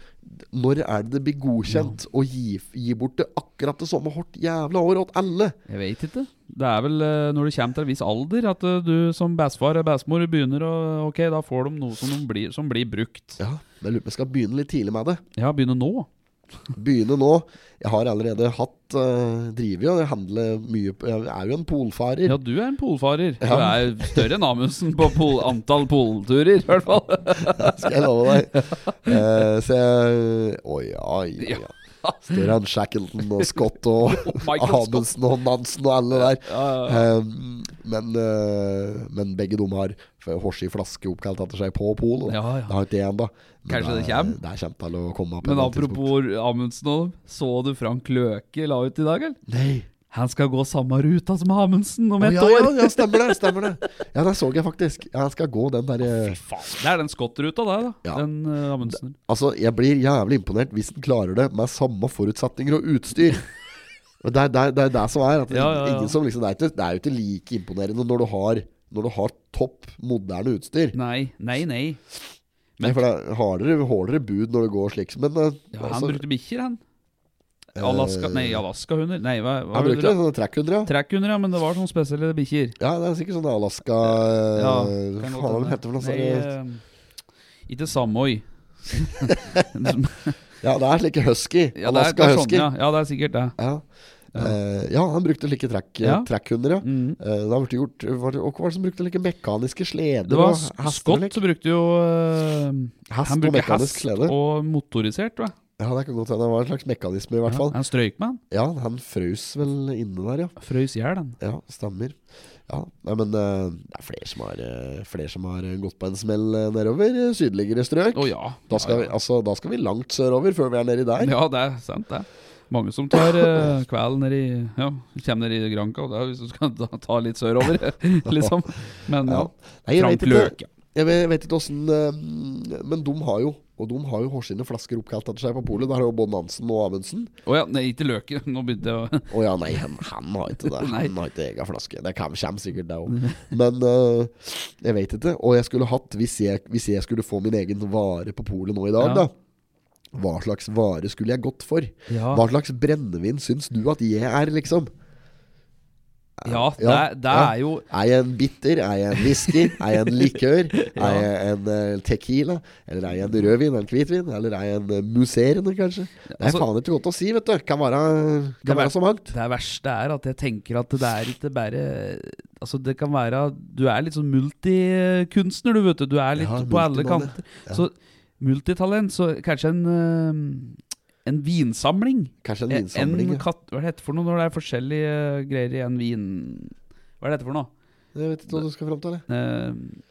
[SPEAKER 2] Når er det det blir godkjent å gi, gi bort det akkurat det samme hardt jævla år åt alle?
[SPEAKER 1] Jeg veit ikke. Det er vel eh, når du kommer til en viss alder at eh, du som bestefar og bestemor begynner å Ok, da får de noe som, de blir, som blir brukt.
[SPEAKER 2] Ja, jeg lurer på om jeg skal begynne litt tidlig med det.
[SPEAKER 1] Ja, begynne nå.
[SPEAKER 2] Begynne nå. Jeg har allerede hatt uh, Driver jo, jeg handler mye på- Jeg er jo en polfarer.
[SPEAKER 1] Ja, du er en polfarer. Du er større enn Amundsen på pol antall polturer, i hvert fall.
[SPEAKER 2] Skal jeg love deg. Eh, så jeg Å ja, ja, ja. Styran Shackleton og Scott og
[SPEAKER 1] Michael Oh Scott.
[SPEAKER 2] Amundsen og Nansen og alle der.
[SPEAKER 1] Ja,
[SPEAKER 2] Um, men, eh, men begge de har Horsi flaske oppkalt etter seg på Pol. og
[SPEAKER 1] Ja, ja.
[SPEAKER 2] Det har ikke jeg ennå.
[SPEAKER 1] Kanskje det kjem?
[SPEAKER 2] Det er kjent til å komme opp.
[SPEAKER 1] Men
[SPEAKER 2] en eller annen tidspunkt.
[SPEAKER 1] apropos Amundsen og dem. Så du Frank Løke la ut i dag, eller?
[SPEAKER 2] Nei.
[SPEAKER 1] Han skal gå samme ruta som Amundsen om
[SPEAKER 2] Å,
[SPEAKER 1] ett
[SPEAKER 2] ja,
[SPEAKER 1] år!
[SPEAKER 2] ja, ja, stemmer det. Stemmer det. Ja, det så jeg faktisk. Ja, Jeg skal gå den eh, derre
[SPEAKER 1] Fy faen. Det er den skottruta der, da.
[SPEAKER 2] Ja.
[SPEAKER 1] Den eh, Amundsen.
[SPEAKER 2] Altså, jeg blir jævlig imponert hvis den klarer det med samme forutsetninger og utstyr. Og Det er det, er- det, er det som er. At det,
[SPEAKER 1] Ja, ja, ja.
[SPEAKER 2] Ingen som liksom, det, er ikke, det er jo ikke like imponerende når du har, når du har topp moderne utstyr.
[SPEAKER 1] Nei, nei, nei.
[SPEAKER 2] Nei, for det er hardere, hardere bud når det går slik. Men eh,
[SPEAKER 1] Ja, han
[SPEAKER 2] altså,
[SPEAKER 1] brukte bikkjer, han. Alaska,
[SPEAKER 2] Eh,
[SPEAKER 1] nei, Alaska-hunder. Nei, hva, hva
[SPEAKER 2] han
[SPEAKER 1] var det?
[SPEAKER 2] brukte det, sånne trekkhunder, ja.
[SPEAKER 1] Trekkhunder, ja, men det var sånne spesielle bikkjer.
[SPEAKER 2] Ja, det er sikkert sånne Alaska
[SPEAKER 1] Ja,
[SPEAKER 2] eh,
[SPEAKER 1] kan godt
[SPEAKER 2] Hva faen er det
[SPEAKER 1] hende.
[SPEAKER 2] heter for noe sånn-
[SPEAKER 1] Nei,
[SPEAKER 2] sånt?
[SPEAKER 1] eh, Ikke Samoi.
[SPEAKER 2] Ja, det er slike husky.
[SPEAKER 1] Ja, det er, det
[SPEAKER 2] Alaska
[SPEAKER 1] er sånn,
[SPEAKER 2] husky.
[SPEAKER 1] ja. ja, det er sikkert det.
[SPEAKER 2] Ja. Eh, ja, han brukte like trekk,
[SPEAKER 1] Ja.
[SPEAKER 2] trekkhunder, ja.
[SPEAKER 1] Mhm.
[SPEAKER 2] Eh, det har vært gjort, var det, og hva var det som brukte like mekaniske sleder?
[SPEAKER 1] Det var
[SPEAKER 2] og
[SPEAKER 1] S-
[SPEAKER 2] hester og
[SPEAKER 1] Scott
[SPEAKER 2] lik?
[SPEAKER 1] som brukte jo eh,
[SPEAKER 2] Hest
[SPEAKER 1] Han
[SPEAKER 2] og
[SPEAKER 1] brukte
[SPEAKER 2] mekanisk
[SPEAKER 1] hest
[SPEAKER 2] slede.
[SPEAKER 1] og motorisert, tror jeg.
[SPEAKER 2] Ja, det kan godt hende. Det var en slags mekanisme, i hvert
[SPEAKER 1] Ja,
[SPEAKER 2] fall.
[SPEAKER 1] han strøyk med han.
[SPEAKER 2] Ja, han frøs vel inne der, ja.
[SPEAKER 1] Frøys i hjel, han.
[SPEAKER 2] Ja, stemmer. Ja, nei, men eh, det er flere som har, eh, flere som har eh, gått på en smell eh, nedover eh, sydligere strøk.
[SPEAKER 1] Å ja.
[SPEAKER 2] Da skal,
[SPEAKER 1] ja,
[SPEAKER 2] vi, altså, da skal vi langt sørover før vi er nedi der.
[SPEAKER 1] Ja, det er sant, det. Mange som tar uh, kvelden nedi Ja, kommer nedi Granca, og det er hvis du skal ta, ta litt sørover, liksom. Men ja.
[SPEAKER 2] Ja. Nei, jeg
[SPEAKER 1] Frank
[SPEAKER 2] vet ikke-
[SPEAKER 1] Løke.
[SPEAKER 2] Jeg vet, jeg vet ikke åssen Men de har jo Og de har jo hårsine flasker oppkalt etter seg på polet. Der har jo både Nansen og Amundsen.
[SPEAKER 1] Å ja, nei, ikke Løke. Nå begynte jeg å
[SPEAKER 2] Å ja, nei, han, han har ikke det.
[SPEAKER 1] Nei.
[SPEAKER 2] Han har ikke egen flaske. Det kan- kommer sikkert, det òg. Men eh, jeg vet ikke. Og jeg skulle hatt, hvis jeg, hvis jeg skulle få min egen vare på polet nå i dag,
[SPEAKER 1] Ja.
[SPEAKER 2] da Hva slags vare skulle jeg gått for?
[SPEAKER 1] Ja,
[SPEAKER 2] Hva slags brennevin syns du at jeg er, liksom?
[SPEAKER 1] ja det,
[SPEAKER 2] Ja,
[SPEAKER 1] er- det
[SPEAKER 2] ja.
[SPEAKER 1] er jo
[SPEAKER 2] Er jeg en bitter? Er jeg en whisky? Er jeg en likør? Er jeg en eh, tequila? Eller er jeg en rødvin? En hvitvin? Eller er jeg en eh, musserende, kanskje? Det er
[SPEAKER 1] Altså-
[SPEAKER 2] faen ikke godt å si, vet du. Kan være,
[SPEAKER 1] Det er
[SPEAKER 2] kan
[SPEAKER 1] bare-
[SPEAKER 2] være så mangt.
[SPEAKER 1] Det verste er at jeg tenker at det er ikke bare Altså det kan være Du er litt sånn multikunstner, du vet du. Du er litt
[SPEAKER 2] Ja,
[SPEAKER 1] på alle
[SPEAKER 2] multimann, ja.
[SPEAKER 1] kanter. Så multitalent, så kanskje en eh, En vinsamling.
[SPEAKER 2] Kanskje en
[SPEAKER 1] Eh, En,
[SPEAKER 2] vinsamling. ja.
[SPEAKER 1] kat, hva er det hette for noe når det er forskjellige greier i en vin Hva er det hette for noe?
[SPEAKER 2] Jeg vet ikke hva du skal fram til. jeg.
[SPEAKER 1] Eh,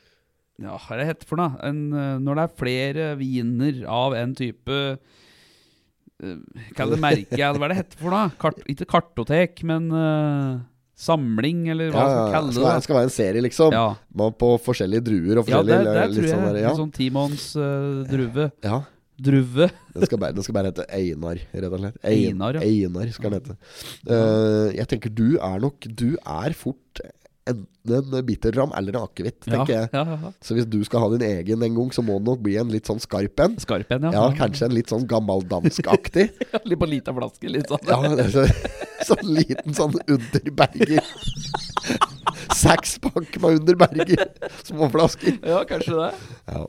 [SPEAKER 1] ja, hva er det hette for noe? En, eh, når det er flere viner av en type eh, Kall det merke, eller hva er det hette for noe? Kart, ikke kartotek, men eh, samling, eller hva
[SPEAKER 2] Ja,
[SPEAKER 1] skal
[SPEAKER 2] ja,
[SPEAKER 1] man
[SPEAKER 2] ja.
[SPEAKER 1] kalle
[SPEAKER 2] Skal, være-
[SPEAKER 1] det?
[SPEAKER 2] skal være en serie, liksom.
[SPEAKER 1] Ja,
[SPEAKER 2] Man på forskjellige druer og
[SPEAKER 1] ja
[SPEAKER 2] forskjellige
[SPEAKER 1] der, der
[SPEAKER 2] litt
[SPEAKER 1] tror jeg
[SPEAKER 2] sånn der, ja.
[SPEAKER 1] en sånn Timons eh, druve
[SPEAKER 2] ja.
[SPEAKER 1] Druve.
[SPEAKER 2] Den skal, bare, den skal bare hete Einar, rett og slett.
[SPEAKER 1] Einar, ja.
[SPEAKER 2] Einar skal den hete. Eh, jeg tenker du er nok Du er fort enten en bitterram eller en akevitt,
[SPEAKER 1] Ja,
[SPEAKER 2] tenker jeg.
[SPEAKER 1] ja, ja.
[SPEAKER 2] Så hvis du skal ha din egen en gang, så må det nok bli en litt sånn skarp en.
[SPEAKER 1] Skarp en, ja.
[SPEAKER 2] Ja, kanskje en litt sånn gammeldanskaktig.
[SPEAKER 1] Litt på lita flaske, litt sånn.
[SPEAKER 2] Ja, det er så, sånn liten sånn underberger. Sekspakk med underberger. Småflasker.
[SPEAKER 1] Ja, kanskje det.
[SPEAKER 2] Ja.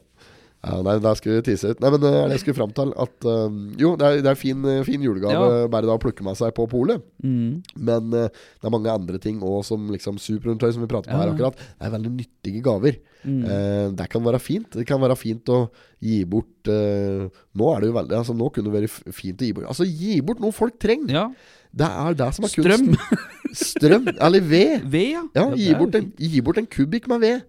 [SPEAKER 2] ja nei, der skulle vi tise ut. Nei, men eh, det jeg skulle fram til, at eh, Jo, det er, det er fin, eh, fin julegave
[SPEAKER 1] Ja.
[SPEAKER 2] bare da å plukke med seg på polet.
[SPEAKER 1] Mm.
[SPEAKER 2] Men eh, det er mange andre ting òg, som liksom superundertøy, som vi prater om
[SPEAKER 1] Ja,
[SPEAKER 2] her
[SPEAKER 1] ja.
[SPEAKER 2] akkurat. Det er veldig nyttige gaver.
[SPEAKER 1] Mm.
[SPEAKER 2] Eh, det kan være fint. Det kan være fint å gi bort eh, Nå er det jo veldig Altså, nå kunne det vært f- fint å gi bort Altså, gi bort noe folk trenger!
[SPEAKER 1] Ja.
[SPEAKER 2] Det er det som er
[SPEAKER 1] Strøm.
[SPEAKER 2] kunsten. Strøm. Eller ved.
[SPEAKER 1] Ved, ja.
[SPEAKER 2] Ja,
[SPEAKER 1] det
[SPEAKER 2] gi
[SPEAKER 1] er jo
[SPEAKER 2] bort, en,
[SPEAKER 1] fint.
[SPEAKER 2] gi bort en kubikk med ved.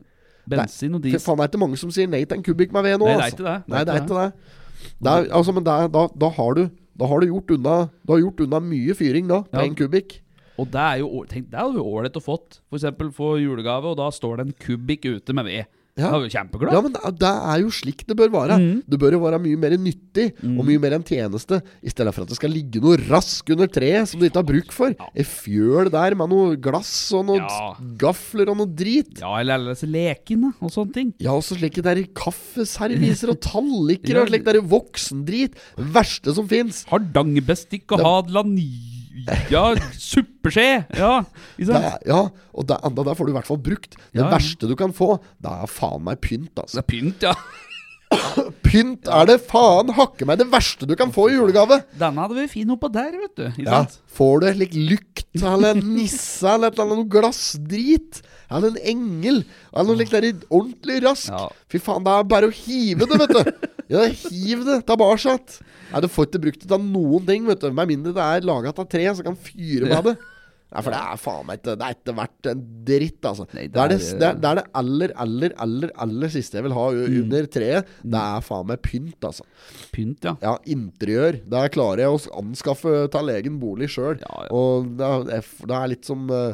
[SPEAKER 1] Bensin og
[SPEAKER 2] For
[SPEAKER 1] diesel.
[SPEAKER 2] faen, er det ikke mange som sier nei til en kubikk med ved nå?
[SPEAKER 1] Nei, det er
[SPEAKER 2] altså.
[SPEAKER 1] ikke det.
[SPEAKER 2] Nei, det er ikke det. det er, altså, men det er, da, da, har du, da har du gjort unna Du har gjort unna mye fyring da, på
[SPEAKER 1] Ja.
[SPEAKER 2] en kubikk.
[SPEAKER 1] Og det er jo å- tenk, det hadde jo ålreit å fått. For eksempel få julegave, og da står det en kubikk ute med ved.
[SPEAKER 2] Ja.
[SPEAKER 1] Da er vi kjempeglad.
[SPEAKER 2] Ja, men det, er- det er jo slik det bør være.
[SPEAKER 1] Mm.
[SPEAKER 2] Det bør jo være mye mer nyttig og mye mer en tjeneste, i stedet for at det skal ligge noe rask under treet som du ikke har bruk for. En fjøl der med noe glass og noen
[SPEAKER 1] Ja.
[SPEAKER 2] gafler og noe drit.
[SPEAKER 1] Ja, eller eller disse lekene og sånne ting.
[SPEAKER 2] Ja, også slike der kaffeserviser og tallikere
[SPEAKER 1] Ja.
[SPEAKER 2] og slik der voksendrit. Det verste som fins.
[SPEAKER 1] Hardangerbestikk og
[SPEAKER 2] Det-
[SPEAKER 1] hadlania suppeskje! Ja, ikke
[SPEAKER 2] Det
[SPEAKER 1] sant?
[SPEAKER 2] er, ja, og det, enda der får du i hvert fall brukt. Det
[SPEAKER 1] Ja, ja.
[SPEAKER 2] verste du kan få, det er faen meg pynt,
[SPEAKER 1] Det
[SPEAKER 2] altså.
[SPEAKER 1] er pynt, ja.
[SPEAKER 2] Pynt er det faen hakke meg det verste du kan få i julegave!
[SPEAKER 1] Denne hadde vi fin oppå der, vet du. Ikke
[SPEAKER 2] Ja,
[SPEAKER 1] sant?
[SPEAKER 2] får du et likt lykt eller en nisse eller et eller annet noe glassdrit? Eller en engel? Eller noe likt der i ordentlig rask?
[SPEAKER 1] Ja.
[SPEAKER 2] Fy faen, det er bare å hive det, vet du! Ja, hiv det tilbake igjen! Nei, du får ikke brukt det av noen ting, vet du. Med mindre det er laga av tre, så kan fyre med det. Nei, for det er faen meg ikke Det er ikke verdt en dritt, altså.
[SPEAKER 1] Nei,
[SPEAKER 2] det,
[SPEAKER 1] det
[SPEAKER 2] er det,
[SPEAKER 1] er-
[SPEAKER 2] det, er, det er det aller, aller, aller aller siste jeg vil ha u- under treet. Det er faen meg pynt, altså.
[SPEAKER 1] Pynt, ja.
[SPEAKER 2] Ja, interiør. Der klarer jeg å anskaffe ta egen bolig sjøl.
[SPEAKER 1] Ja, ja.
[SPEAKER 2] Og det er, det er- det er litt som eh,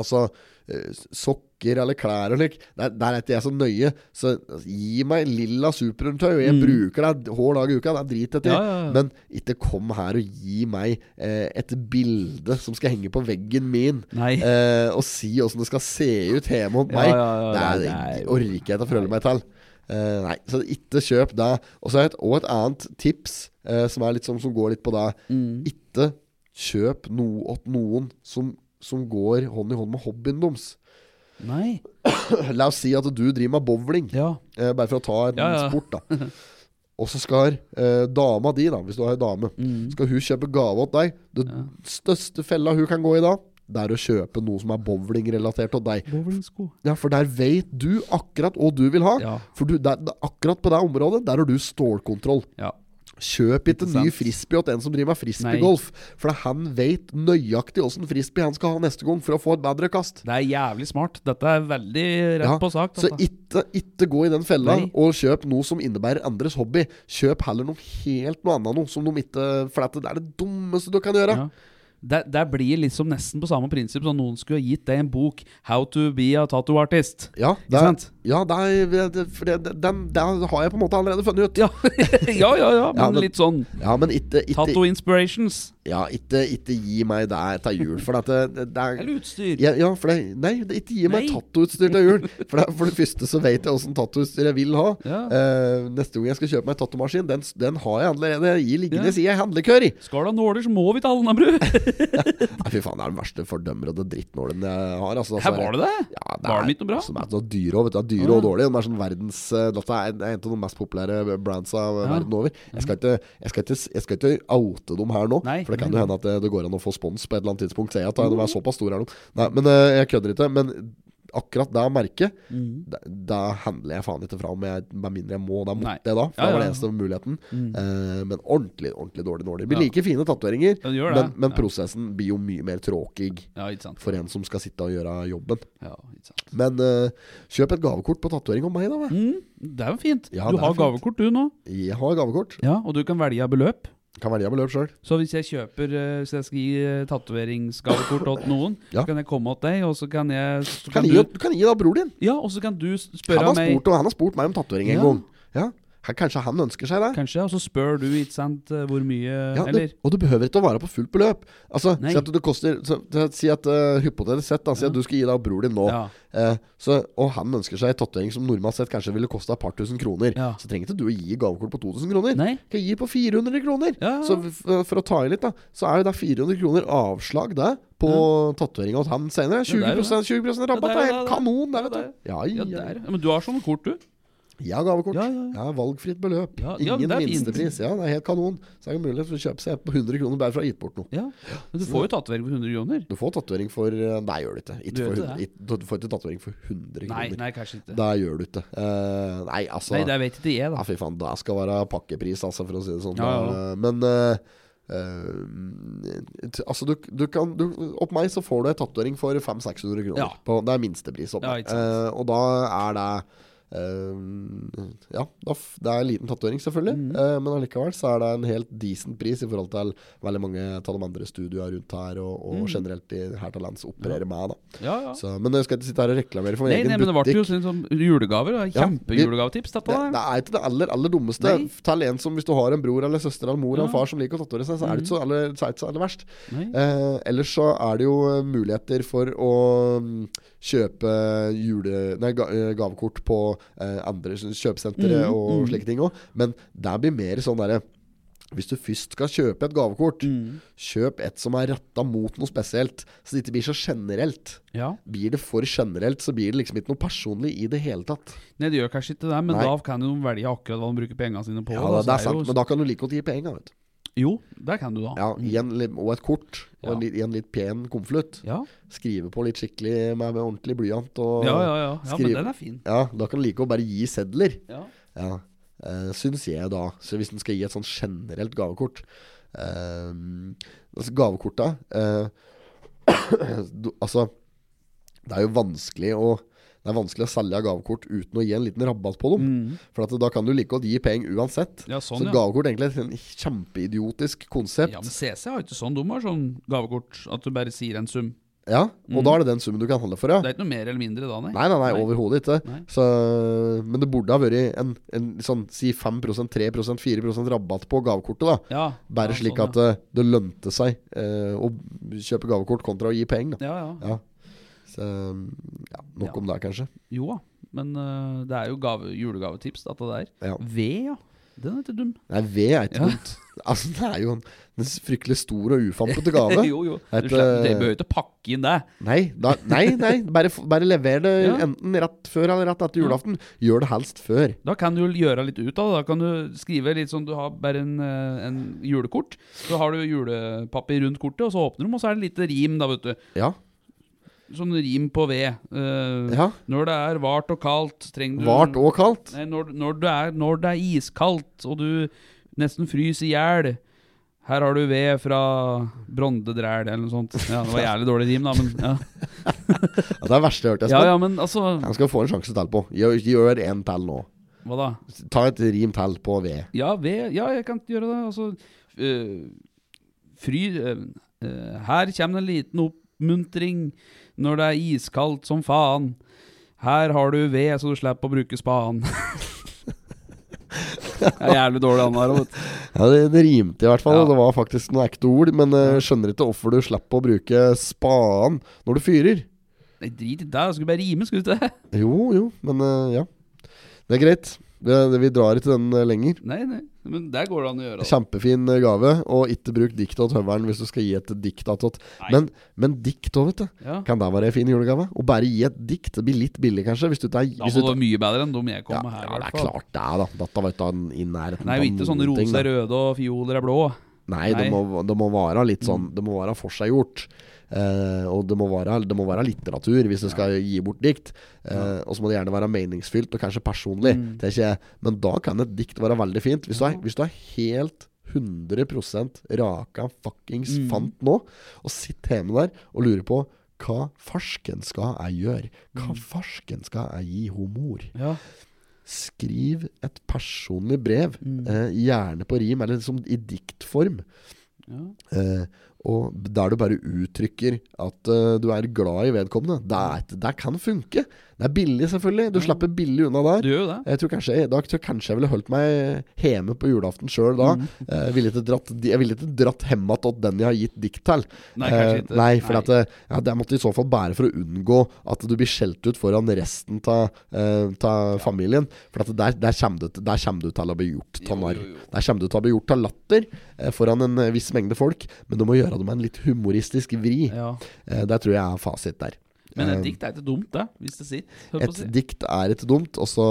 [SPEAKER 2] Altså, eh, sokker eller klær og slik. Der, der er ikke jeg så nøye. Så altså, gi meg lilla superundertøy, og jeg bruker det hver dag i uka. Det er drit
[SPEAKER 1] Mm.
[SPEAKER 2] etter.
[SPEAKER 1] Ja, ja, ja.
[SPEAKER 2] Men ikke kom her og gi meg eh, et bilde som skal henge på veggen min.
[SPEAKER 1] Nei.
[SPEAKER 2] Eh, og si åssen det skal se ut hjemme
[SPEAKER 1] Ja,
[SPEAKER 2] hos meg.
[SPEAKER 1] ja, ja,
[SPEAKER 2] det
[SPEAKER 1] nei,
[SPEAKER 2] er,
[SPEAKER 1] nei.
[SPEAKER 2] orker jeg ikke å forholde meg til. Eh, nei, så ikke kjøp det. Og så er det et- og et annet tips eh, som, er litt sånn, som går litt på det.
[SPEAKER 1] Mm.
[SPEAKER 2] Ikke kjøp noe åt noen som, som går hånd i hånd med hobbyen deres.
[SPEAKER 1] Nei.
[SPEAKER 2] La oss si at du driver med bowling,
[SPEAKER 1] Ja.
[SPEAKER 2] eh, bare for å ta en
[SPEAKER 1] Ja, ja.
[SPEAKER 2] sport, da. Og så skal eh, dama di, da, hvis du har ei dame,
[SPEAKER 1] Mm.
[SPEAKER 2] skal hun kjøpe gave åt deg. Den største fella hun kan gå i da, det er å kjøpe noe som er bowlingrelatert åt deg.
[SPEAKER 1] Bowlingsko.
[SPEAKER 2] Ja, for der veit du akkurat hva du vil ha.
[SPEAKER 1] Ja.
[SPEAKER 2] For du, der, der- akkurat på det området, der har du stålkontroll.
[SPEAKER 1] Ja.
[SPEAKER 2] Kjøp ikke
[SPEAKER 1] Ikke
[SPEAKER 2] ny
[SPEAKER 1] sant?
[SPEAKER 2] frisbee åt en som driver med frisbeegolf. For han veit nøyaktig åssen frisbee han skal ha neste gang for å få et bedre kast.
[SPEAKER 1] Det er jævlig smart. Dette er veldig rett
[SPEAKER 2] Ja,
[SPEAKER 1] på sak.
[SPEAKER 2] Så
[SPEAKER 1] dette.
[SPEAKER 2] ikke, ikke gå i den fella
[SPEAKER 1] Nei.
[SPEAKER 2] og kjøp noe som innebærer andres hobby. Kjøp heller noe helt noe annet noe som de ikke For dette, det er det dummeste du kan gjøre.
[SPEAKER 1] Ja. Der, der blir liksom nesten på samme prinsipp som noen skulle ha gitt deg en bok 'How to be a tattoo artist'.
[SPEAKER 2] Ja,
[SPEAKER 1] Ikke sant?
[SPEAKER 2] ja det, er- det, for det, det, den, det har jeg på en måte allerede funnet ut.
[SPEAKER 1] Ja, ja, ja, ja men,
[SPEAKER 2] men-
[SPEAKER 1] litt sånn
[SPEAKER 2] Ja, men ikke, ikke
[SPEAKER 1] Tattoo inspirations.
[SPEAKER 2] Ja, ikke, ikke gi meg det til jul, for at det, det er
[SPEAKER 1] Eller utstyr.
[SPEAKER 2] ja, ja, for det, Nei, det ikke gi meg
[SPEAKER 1] Nei.
[SPEAKER 2] tattooutstyr til jul. For det, for det første så vet jeg åssen tattooutstyr jeg vil ha.
[SPEAKER 1] Ja.
[SPEAKER 2] Eh, neste gang jeg skal kjøpe meg tattomaskin, den, den har jeg allerede i liggende
[SPEAKER 1] Ja.
[SPEAKER 2] i ei handlekør. i.
[SPEAKER 1] Skal du ha nåler, så må vi til Alnabru!
[SPEAKER 2] Nei, fy faen, det er den verste fordømmer og den drittnålen jeg har. Altså,
[SPEAKER 1] Her var det det!
[SPEAKER 2] Ja, det
[SPEAKER 1] Var
[SPEAKER 2] er-
[SPEAKER 1] den ikke noe bra?
[SPEAKER 2] Som er så dyre og, vet du, det er dyre og dårlige. Den er sånn verdens eh, Dette er en- er en av de mest populære brandsa verden over. Jeg skal, ikke, jeg, skal ikke, jeg skal ikke oute dem her nå,
[SPEAKER 1] Mhm. Nei. Mhm.
[SPEAKER 2] for det kan jo hende at det, det går an å få spons på et eller annet tidspunkt. Ser jeg at de er såpass store her nå. Nei, men eh, jeg kødder ikke. Men akkurat det merket,
[SPEAKER 1] Mhm.
[SPEAKER 2] det, det handler jeg faen ikke fra om, jeg, med mindre jeg må. Da
[SPEAKER 1] Nei.
[SPEAKER 2] måtte jeg da, for
[SPEAKER 1] Ja,
[SPEAKER 2] det var
[SPEAKER 1] ja. Mhm.
[SPEAKER 2] den eneste muligheten.
[SPEAKER 1] Mm.
[SPEAKER 2] Eh, men ordentlig, ordentlig dårlige nåler. Det blir like fine tatoveringer,
[SPEAKER 1] Ja, det gjør
[SPEAKER 2] men,
[SPEAKER 1] det.
[SPEAKER 2] men
[SPEAKER 1] Ja.
[SPEAKER 2] prosessen blir jo mye mer tråkig
[SPEAKER 1] Ja, ikke sant.
[SPEAKER 2] for en som skal sitte og gjøre jobben.
[SPEAKER 1] Ja, ikke sant.
[SPEAKER 2] Men eh, kjøp et gavekort på tatovering om meg, da. vel?
[SPEAKER 1] Mm, det er jo fint.
[SPEAKER 2] Ja,
[SPEAKER 1] du
[SPEAKER 2] det er
[SPEAKER 1] har
[SPEAKER 2] fint.
[SPEAKER 1] gavekort du nå,
[SPEAKER 2] Jeg har gavekort.
[SPEAKER 1] Ja, og du kan velge av beløp.
[SPEAKER 2] Kan velge beløp sjøl.
[SPEAKER 1] Så hvis jeg kjøper eh, Hvis jeg skal gi eh, tatoveringsgavekort til noen,
[SPEAKER 2] Ja.
[SPEAKER 1] så kan jeg komme til deg, og så kan jeg så
[SPEAKER 2] Kan
[SPEAKER 1] kan
[SPEAKER 2] gi,
[SPEAKER 1] du,
[SPEAKER 2] du kan gi da bror din.
[SPEAKER 1] Ja, og så kan du s-
[SPEAKER 2] Han
[SPEAKER 1] spørre
[SPEAKER 2] har,
[SPEAKER 1] meg
[SPEAKER 2] spurt, og han har spurt meg om tatovering en
[SPEAKER 1] Ja.
[SPEAKER 2] gang. Ja. Han- Kanskje han ønsker seg det.
[SPEAKER 1] Kanskje, og så spør du, ikke sant, eh, hvor mye
[SPEAKER 2] Ja, du,
[SPEAKER 1] Eller
[SPEAKER 2] og du behøver ikke å være på fullt beløp. Altså,
[SPEAKER 1] Nei.
[SPEAKER 2] Si at det koster så, Si at eh, hypotetisk sett da, Si at du skal gi deg bror din nå.
[SPEAKER 1] Ja.
[SPEAKER 2] Eh, så, og han ønsker seg en tatovering som normalt sett kanskje ville kosta et par tusen kroner.
[SPEAKER 1] Ja.
[SPEAKER 2] Så trenger ikke du å gi gavekort på 2000 kroner.
[SPEAKER 1] Nei.
[SPEAKER 2] Kan gi på 400 kroner.
[SPEAKER 1] Ja.
[SPEAKER 2] Så f- for å ta i litt, da, så er jo det 400 kroner avslag det på tatoveringa hos han senere.
[SPEAKER 1] Ja, det er jo
[SPEAKER 2] 20,
[SPEAKER 1] Ja,
[SPEAKER 2] 20 rabatt
[SPEAKER 1] det er
[SPEAKER 2] er
[SPEAKER 1] jo
[SPEAKER 2] helt
[SPEAKER 1] det, det.
[SPEAKER 2] kanon, det, vet
[SPEAKER 1] Ja,
[SPEAKER 2] du.
[SPEAKER 1] Ja,
[SPEAKER 2] Ja, ja,
[SPEAKER 1] der.
[SPEAKER 2] ja.
[SPEAKER 1] Ja, men du har sånne kort, du.
[SPEAKER 2] Jeg har gavekort.
[SPEAKER 1] Ja,
[SPEAKER 2] Ja,
[SPEAKER 1] ja, ja.
[SPEAKER 2] valgfritt beløp.
[SPEAKER 1] Ja, ja,
[SPEAKER 2] Ingen
[SPEAKER 1] det er fint.
[SPEAKER 2] minstepris. Ja, det er helt kanon. Så er det mulighet for å kjøpe seg et på 100 kroner bare for å ha gitt bort noe.
[SPEAKER 1] Ja. Men du får jo tatovering for 100 kroner.
[SPEAKER 2] Du får tatovering for eh, Nei, gjør du ikke. Ikke
[SPEAKER 1] Du gjør ikke
[SPEAKER 2] for 100
[SPEAKER 1] det?
[SPEAKER 2] ikke- Du får ikke tatovering for 100
[SPEAKER 1] Nei,
[SPEAKER 2] kroner.
[SPEAKER 1] nei, kanskje ikke.
[SPEAKER 2] Da gjør du ikke. Eh, nei, altså
[SPEAKER 1] Nei, det vet ikke jeg,
[SPEAKER 2] Ja,
[SPEAKER 1] da.
[SPEAKER 2] fy faen, det skal være pakkepris, altså, for å si det sånn.
[SPEAKER 1] Ja, ja,
[SPEAKER 2] Eh, Men eh, eh, t- altså, du, du kan du, Opp meg så får du ei tatovering for 500-600 kroner.
[SPEAKER 1] Ja.
[SPEAKER 2] På, det er minstepris. Opp
[SPEAKER 1] Ja,
[SPEAKER 2] meg.
[SPEAKER 1] ikke sant.
[SPEAKER 2] Eh, og da er det eh, ja, da f- det er en liten tatovering, selvfølgelig.
[SPEAKER 1] Mhm.
[SPEAKER 2] eh, men allikevel så er det en helt decent pris i forhold til veldig mange av de andre studioene rundt her, og, og generelt i, her til lands opererer med. Da.
[SPEAKER 1] Mhm. Ja, ja.
[SPEAKER 2] Så, men jeg skal ikke sitte her og reklamere for min
[SPEAKER 1] Nei,
[SPEAKER 2] egen
[SPEAKER 1] nei, men det ble jo
[SPEAKER 2] butikk.
[SPEAKER 1] sånn som julegaver. da.
[SPEAKER 2] Ja,
[SPEAKER 1] Kjempejulegavetips, dette.
[SPEAKER 2] Det,
[SPEAKER 1] da.
[SPEAKER 2] det er ikke det aller, aller dummeste.
[SPEAKER 1] Nei.
[SPEAKER 2] Til en som hvis du har en bror eller søster eller mor eller
[SPEAKER 1] Ja. Mm.
[SPEAKER 2] far som liker å tatovere seg, så er det ikke så aller, så er det ikke så aller verst.
[SPEAKER 1] Nei.
[SPEAKER 2] Eh, ellers så er det jo eh, muligheter for å mm, kjøpe jule, nei, ga, eh, gavekort på eh, andre sånn
[SPEAKER 1] Mm,
[SPEAKER 2] kjøpesentre og slike ting òg, men det blir mer sånn derre hvis du først skal kjøpe et gavekort,
[SPEAKER 1] Mm.
[SPEAKER 2] kjøp et som er retta mot noe spesielt, så det ikke blir så generelt.
[SPEAKER 1] Ja.
[SPEAKER 2] Blir det for generelt, så blir det liksom ikke noe personlig i det hele tatt.
[SPEAKER 1] Nei, det gjør kanskje ikke det, men
[SPEAKER 2] Nei.
[SPEAKER 1] da kan jo de velge akkurat hva de bruker pengene sine på.
[SPEAKER 2] Ja,
[SPEAKER 1] da,
[SPEAKER 2] det,
[SPEAKER 1] så
[SPEAKER 2] det er
[SPEAKER 1] altså, jo-
[SPEAKER 2] sant, men da kan du like godt gi penger. Vet du.
[SPEAKER 1] Jo, det kan du da.
[SPEAKER 2] Ja, i en, li- og et kort, og
[SPEAKER 1] Ja.
[SPEAKER 2] en, li- i en litt pen konvolutt.
[SPEAKER 1] Ja,
[SPEAKER 2] Skrive på litt skikkelig med, med ordentlig blyant. Og,
[SPEAKER 1] ja, ja. ja. ja men
[SPEAKER 2] Skriv-
[SPEAKER 1] den er fin.
[SPEAKER 2] Ja, da kan du like godt bare gi sedler.
[SPEAKER 1] Ja.
[SPEAKER 2] Ja, eh, syns jeg da. Så hvis en skal gi et sånn generelt gavekort eh, Altså, gavekorta eh, du, Altså, det er jo vanskelig å det er vanskelig å selge gavekort uten å gi en liten rabatt på
[SPEAKER 1] Mm.
[SPEAKER 2] dem. For at da kan du like godt gi penger uansett.
[SPEAKER 1] Ja, sånn,
[SPEAKER 2] så
[SPEAKER 1] ja.
[SPEAKER 2] gavekort er egentlig et sånn kjempeidiotisk konsept.
[SPEAKER 1] ja, men CC har jo ikke sånn. De har sånn gavekort at du bare sier en sum.
[SPEAKER 2] Ja, og da er det den summen du kan handle for, ja.
[SPEAKER 1] Mm. Det er ikke noe mer eller mindre da, nei.
[SPEAKER 2] Nei, nei, nei,
[SPEAKER 1] Nei.
[SPEAKER 2] overhodet ikke.
[SPEAKER 1] Nei.
[SPEAKER 2] Så, men det burde ha vært en, en sånn si 5 3 4 rabatt på gavekortet, da.
[SPEAKER 1] Ja,
[SPEAKER 2] Bare
[SPEAKER 1] ja,
[SPEAKER 2] slik
[SPEAKER 1] sånn,
[SPEAKER 2] at eh, det lønte seg eh, å kjøpe gavekort kontra å gi penger, da.
[SPEAKER 1] ja. Ja, ja.
[SPEAKER 2] Ja. Så, ja, nok
[SPEAKER 1] Ja.
[SPEAKER 2] om det, kanskje.
[SPEAKER 1] Jo da. Men øh, det er jo gave, julegavetips, dette der.
[SPEAKER 2] Ja.
[SPEAKER 1] Ved, ja. Den er ikke dum.
[SPEAKER 2] Nei, ved er ikke
[SPEAKER 1] Ja.
[SPEAKER 2] dumt. Altså, det er jo en, en fryktelig stor og ufampete gave.
[SPEAKER 1] jo, jo.
[SPEAKER 2] Et,
[SPEAKER 1] Du slipper, det
[SPEAKER 2] øh,
[SPEAKER 1] behøver ikke pakke inn det.
[SPEAKER 2] Nei, da, nei, nei bare, f- bare lever det
[SPEAKER 1] Ja.
[SPEAKER 2] enten rett før eller rett etter julaften. Gjør det helst før.
[SPEAKER 1] Da kan du gjøre litt ut av det. Da kan du skrive litt sånn Du har bare en, øh, en julekort. Så har du julepapir rundt kortet, og så åpner du dem, og så er det litt rim, da, vet du.
[SPEAKER 2] Ja.
[SPEAKER 1] Sånn rim på ved. Eh,
[SPEAKER 2] ja.
[SPEAKER 1] Når det er vart og kaldt, trenger du
[SPEAKER 2] Vart og kaldt.
[SPEAKER 1] Nei, når, når, det er, når det er iskaldt, og du nesten fryser i hjel Her har du ved fra Brondedræl, eller noe sånt. Ja, det var jævlig dårlig rim, da, men ja.
[SPEAKER 2] Ja, det er det verste jeg har hørt.
[SPEAKER 1] ja,
[SPEAKER 2] Espen.
[SPEAKER 1] ja, men altså
[SPEAKER 2] Han skal få en sjanse til på. Gjør, gjør en til nå.
[SPEAKER 1] Hva da?
[SPEAKER 2] Ta et rim til på ved.
[SPEAKER 1] Ja, ved Ja, jeg kan gjøre det. Altså øh, Fry øh, øh, Her kommer det en liten oppmuntring når det er iskaldt som faen. Her har du ved, så du slipper å bruke spaden. Det er jævlig dårlig han her. vet du.
[SPEAKER 2] Ja, det, det rimte i hvert fall.
[SPEAKER 1] Ja.
[SPEAKER 2] og Det var faktisk noen ekte ord. Men eh, skjønner ikke hvorfor du slipper å bruke spaden når du fyrer.
[SPEAKER 1] Nei, drit i det. Jeg skulle bare rime, skulle du ikke det?
[SPEAKER 2] Jo, jo, men eh, ja. Det er greit. Det, det, vi drar ikke den eh, lenger.
[SPEAKER 1] Nei, nei. Men der går det an å gjøre. Altså.
[SPEAKER 2] Kjempefin eh, gave. Og ikke bruk dikt av høveren hvis du skal gi et dikt av tått.
[SPEAKER 1] Nei.
[SPEAKER 2] Men, men dikt òg, vet du.
[SPEAKER 1] Ja.
[SPEAKER 2] Kan det være en fin julegave? Å bare gi et dikt. Det blir litt billig, kanskje. Hvis du ikke er
[SPEAKER 1] Da
[SPEAKER 2] hvis
[SPEAKER 1] må det
[SPEAKER 2] du ikke-
[SPEAKER 1] være mye bedre enn de jeg kom
[SPEAKER 2] ja,
[SPEAKER 1] med her. i
[SPEAKER 2] ja, det er
[SPEAKER 1] hvert fall.
[SPEAKER 2] klart det, er da. Dette var ikke en- i nærheten
[SPEAKER 1] Nei,
[SPEAKER 2] av
[SPEAKER 1] jo ikke sånn
[SPEAKER 2] noen ting,
[SPEAKER 1] roser
[SPEAKER 2] da.
[SPEAKER 1] er røde og fioler er blå.
[SPEAKER 2] Nei, det
[SPEAKER 1] Nei.
[SPEAKER 2] må, det må være litt sånn Det må være forseggjort. Eh, og det må, være, det må være litteratur hvis du skal gi bort dikt. Eh, Og så må det gjerne være meningsfylt og kanskje personlig. tenker jeg. Men da kan et dikt være veldig fint. Hvis du er, hvis du er helt 100 raka fuckings fant nå, og sitter hjemme der og lurer på hva farsken skal jeg gjøre? Hva farsken skal jeg gi ho mor?
[SPEAKER 1] Ja.
[SPEAKER 2] Skriv et personlig brev, eh, gjerne på rim, eller liksom i diktform.
[SPEAKER 1] Ja.
[SPEAKER 2] Eh, og der du bare uttrykker at eh, du er glad i vedkommende. Det, er, et- det kan funke. Det er billig, selvfølgelig. Du slipper billig unna
[SPEAKER 1] Du
[SPEAKER 2] der.
[SPEAKER 1] gjør jo det.
[SPEAKER 2] Jeg tror kanskje, da tror jeg kanskje jeg ville holdt meg hjemme på julaften sjøl da. Eh, Jeg ville ikke dratt, jeg ville ikke dratt hemma til den jeg har gitt dikt til.
[SPEAKER 1] Nei, kanskje
[SPEAKER 2] Eh,
[SPEAKER 1] ikke.
[SPEAKER 2] Nei, for
[SPEAKER 1] Nei.
[SPEAKER 2] At, eh, ja, det måtte i så fall bære for å unngå at du blir skjelt ut foran resten av familien. For at der, der, kommer du, til- der kommer du til å bli gjort
[SPEAKER 1] Jo,
[SPEAKER 2] av narr.
[SPEAKER 1] jo, jo.
[SPEAKER 2] Der kommer du til å bli gjort av latter eh, foran en eh, viss mengde folk, men du må gjøre det med en litt humoristisk vri.
[SPEAKER 1] Ja.
[SPEAKER 2] Eh, der tror jeg er fasit der.
[SPEAKER 1] Men
[SPEAKER 2] Eh,
[SPEAKER 1] et dikt er ikke dumt, det. Hvis det sitter. Hør på
[SPEAKER 2] et
[SPEAKER 1] å si.
[SPEAKER 2] dikt er ikke dumt, og så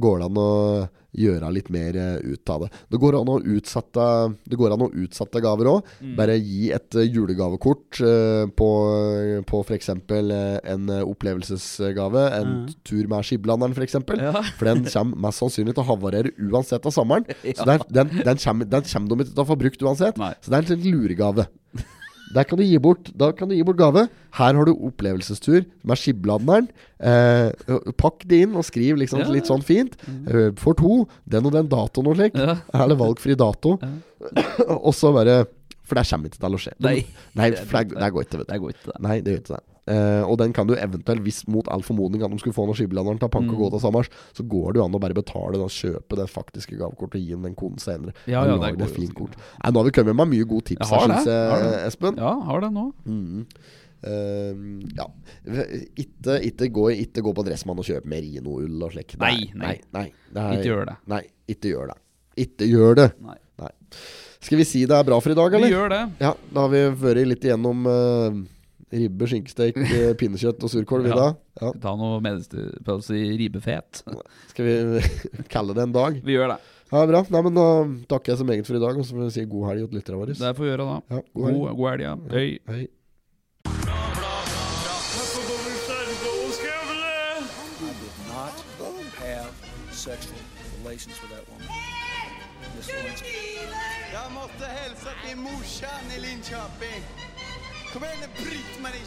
[SPEAKER 2] går det an å gjøre litt mer eh, ut av det. Det går an å utsette, det går an å utsette gaver òg.
[SPEAKER 1] Mm.
[SPEAKER 2] Mm. Bare gi et eh, julegavekort eh, på, på f.eks. en eh, opplevelsesgave. En tur med skiblanderen, f.eks. eksempel
[SPEAKER 1] Ja.
[SPEAKER 2] For den kommer mest sannsynlig til å havarere uansett av sommeren. Så den, den, den, kommer, den kommer de ikke til å få brukt uansett.
[SPEAKER 1] Nei.
[SPEAKER 2] Så det er en slags luregave. Der kan du gi bort, da kan du gi bort gave. Her har du opplevelsestur med skiblanderen. Eh, pakk det inn og skriv liksom
[SPEAKER 1] Ja. Mm.
[SPEAKER 2] litt sånn fint. Eh, for to, den og den datoen og slik.
[SPEAKER 1] Ja.
[SPEAKER 2] Eller valgfri dato. og så bare For det kommer ikke til å skje.
[SPEAKER 1] Nei.
[SPEAKER 2] Nei, for det, det går ikke, vet du.
[SPEAKER 1] Det går ikke, det.
[SPEAKER 2] Nei, det gjør ikke det. Eh, og den kan du eventuelt, hvis mot all formodning at de skulle få noen skiblanderen til å
[SPEAKER 1] Mm.
[SPEAKER 2] panke og gå til Samars, så går det jo an å bare betale den, kjøpe det faktiske gavekortet og gi den den koden senere.
[SPEAKER 1] Ja,
[SPEAKER 2] Og
[SPEAKER 1] ja,
[SPEAKER 2] lage
[SPEAKER 1] det
[SPEAKER 2] det
[SPEAKER 1] går jo
[SPEAKER 2] fint
[SPEAKER 1] sikkert.
[SPEAKER 2] kort. Nei, nå har vi kommet med mye gode tips
[SPEAKER 1] Jeg har
[SPEAKER 2] her,
[SPEAKER 1] det,
[SPEAKER 2] syns jeg,
[SPEAKER 1] har det.
[SPEAKER 2] Espen.
[SPEAKER 1] Ja, har det nå.
[SPEAKER 2] Mhm. Eh, ja. Ikke, ikke, gå, ikke gå på Dressmann og kjøp merinoull og slik. Det er-
[SPEAKER 1] Nei, nei.
[SPEAKER 2] nei, nei, det er-
[SPEAKER 1] Ikke gjør det.
[SPEAKER 2] Nei, ikke gjør det. Ikke gjør det.
[SPEAKER 1] Nei.
[SPEAKER 2] Nei. Skal vi si det er bra for i dag, eller?
[SPEAKER 1] Vi gjør det.
[SPEAKER 2] Ja, da har vi vært litt igjennom eh, ribbe, skinkesteik, eh, pinnekjøtt og surkål. vi
[SPEAKER 1] Ja.
[SPEAKER 2] da.
[SPEAKER 1] Ta noe medisterpølse i ribbefet.
[SPEAKER 2] Ja. Skal vi kalle det en dag?
[SPEAKER 1] Vi gjør det.
[SPEAKER 2] Ja, bra. Nei, men Da takker jeg så meget for i dag, og så får vi si god helg til lytterne våre.
[SPEAKER 1] Det får vi gjøre da.
[SPEAKER 2] Ja, god
[SPEAKER 1] God,
[SPEAKER 2] helg.
[SPEAKER 1] god helg. ja. Hei.
[SPEAKER 2] Hei.
[SPEAKER 3] I did not have sexual relations with that woman. Miss Lewinsky.
[SPEAKER 4] Jag måste hälsa till morsan i Linköping. Kom igen nu Britt-Marie,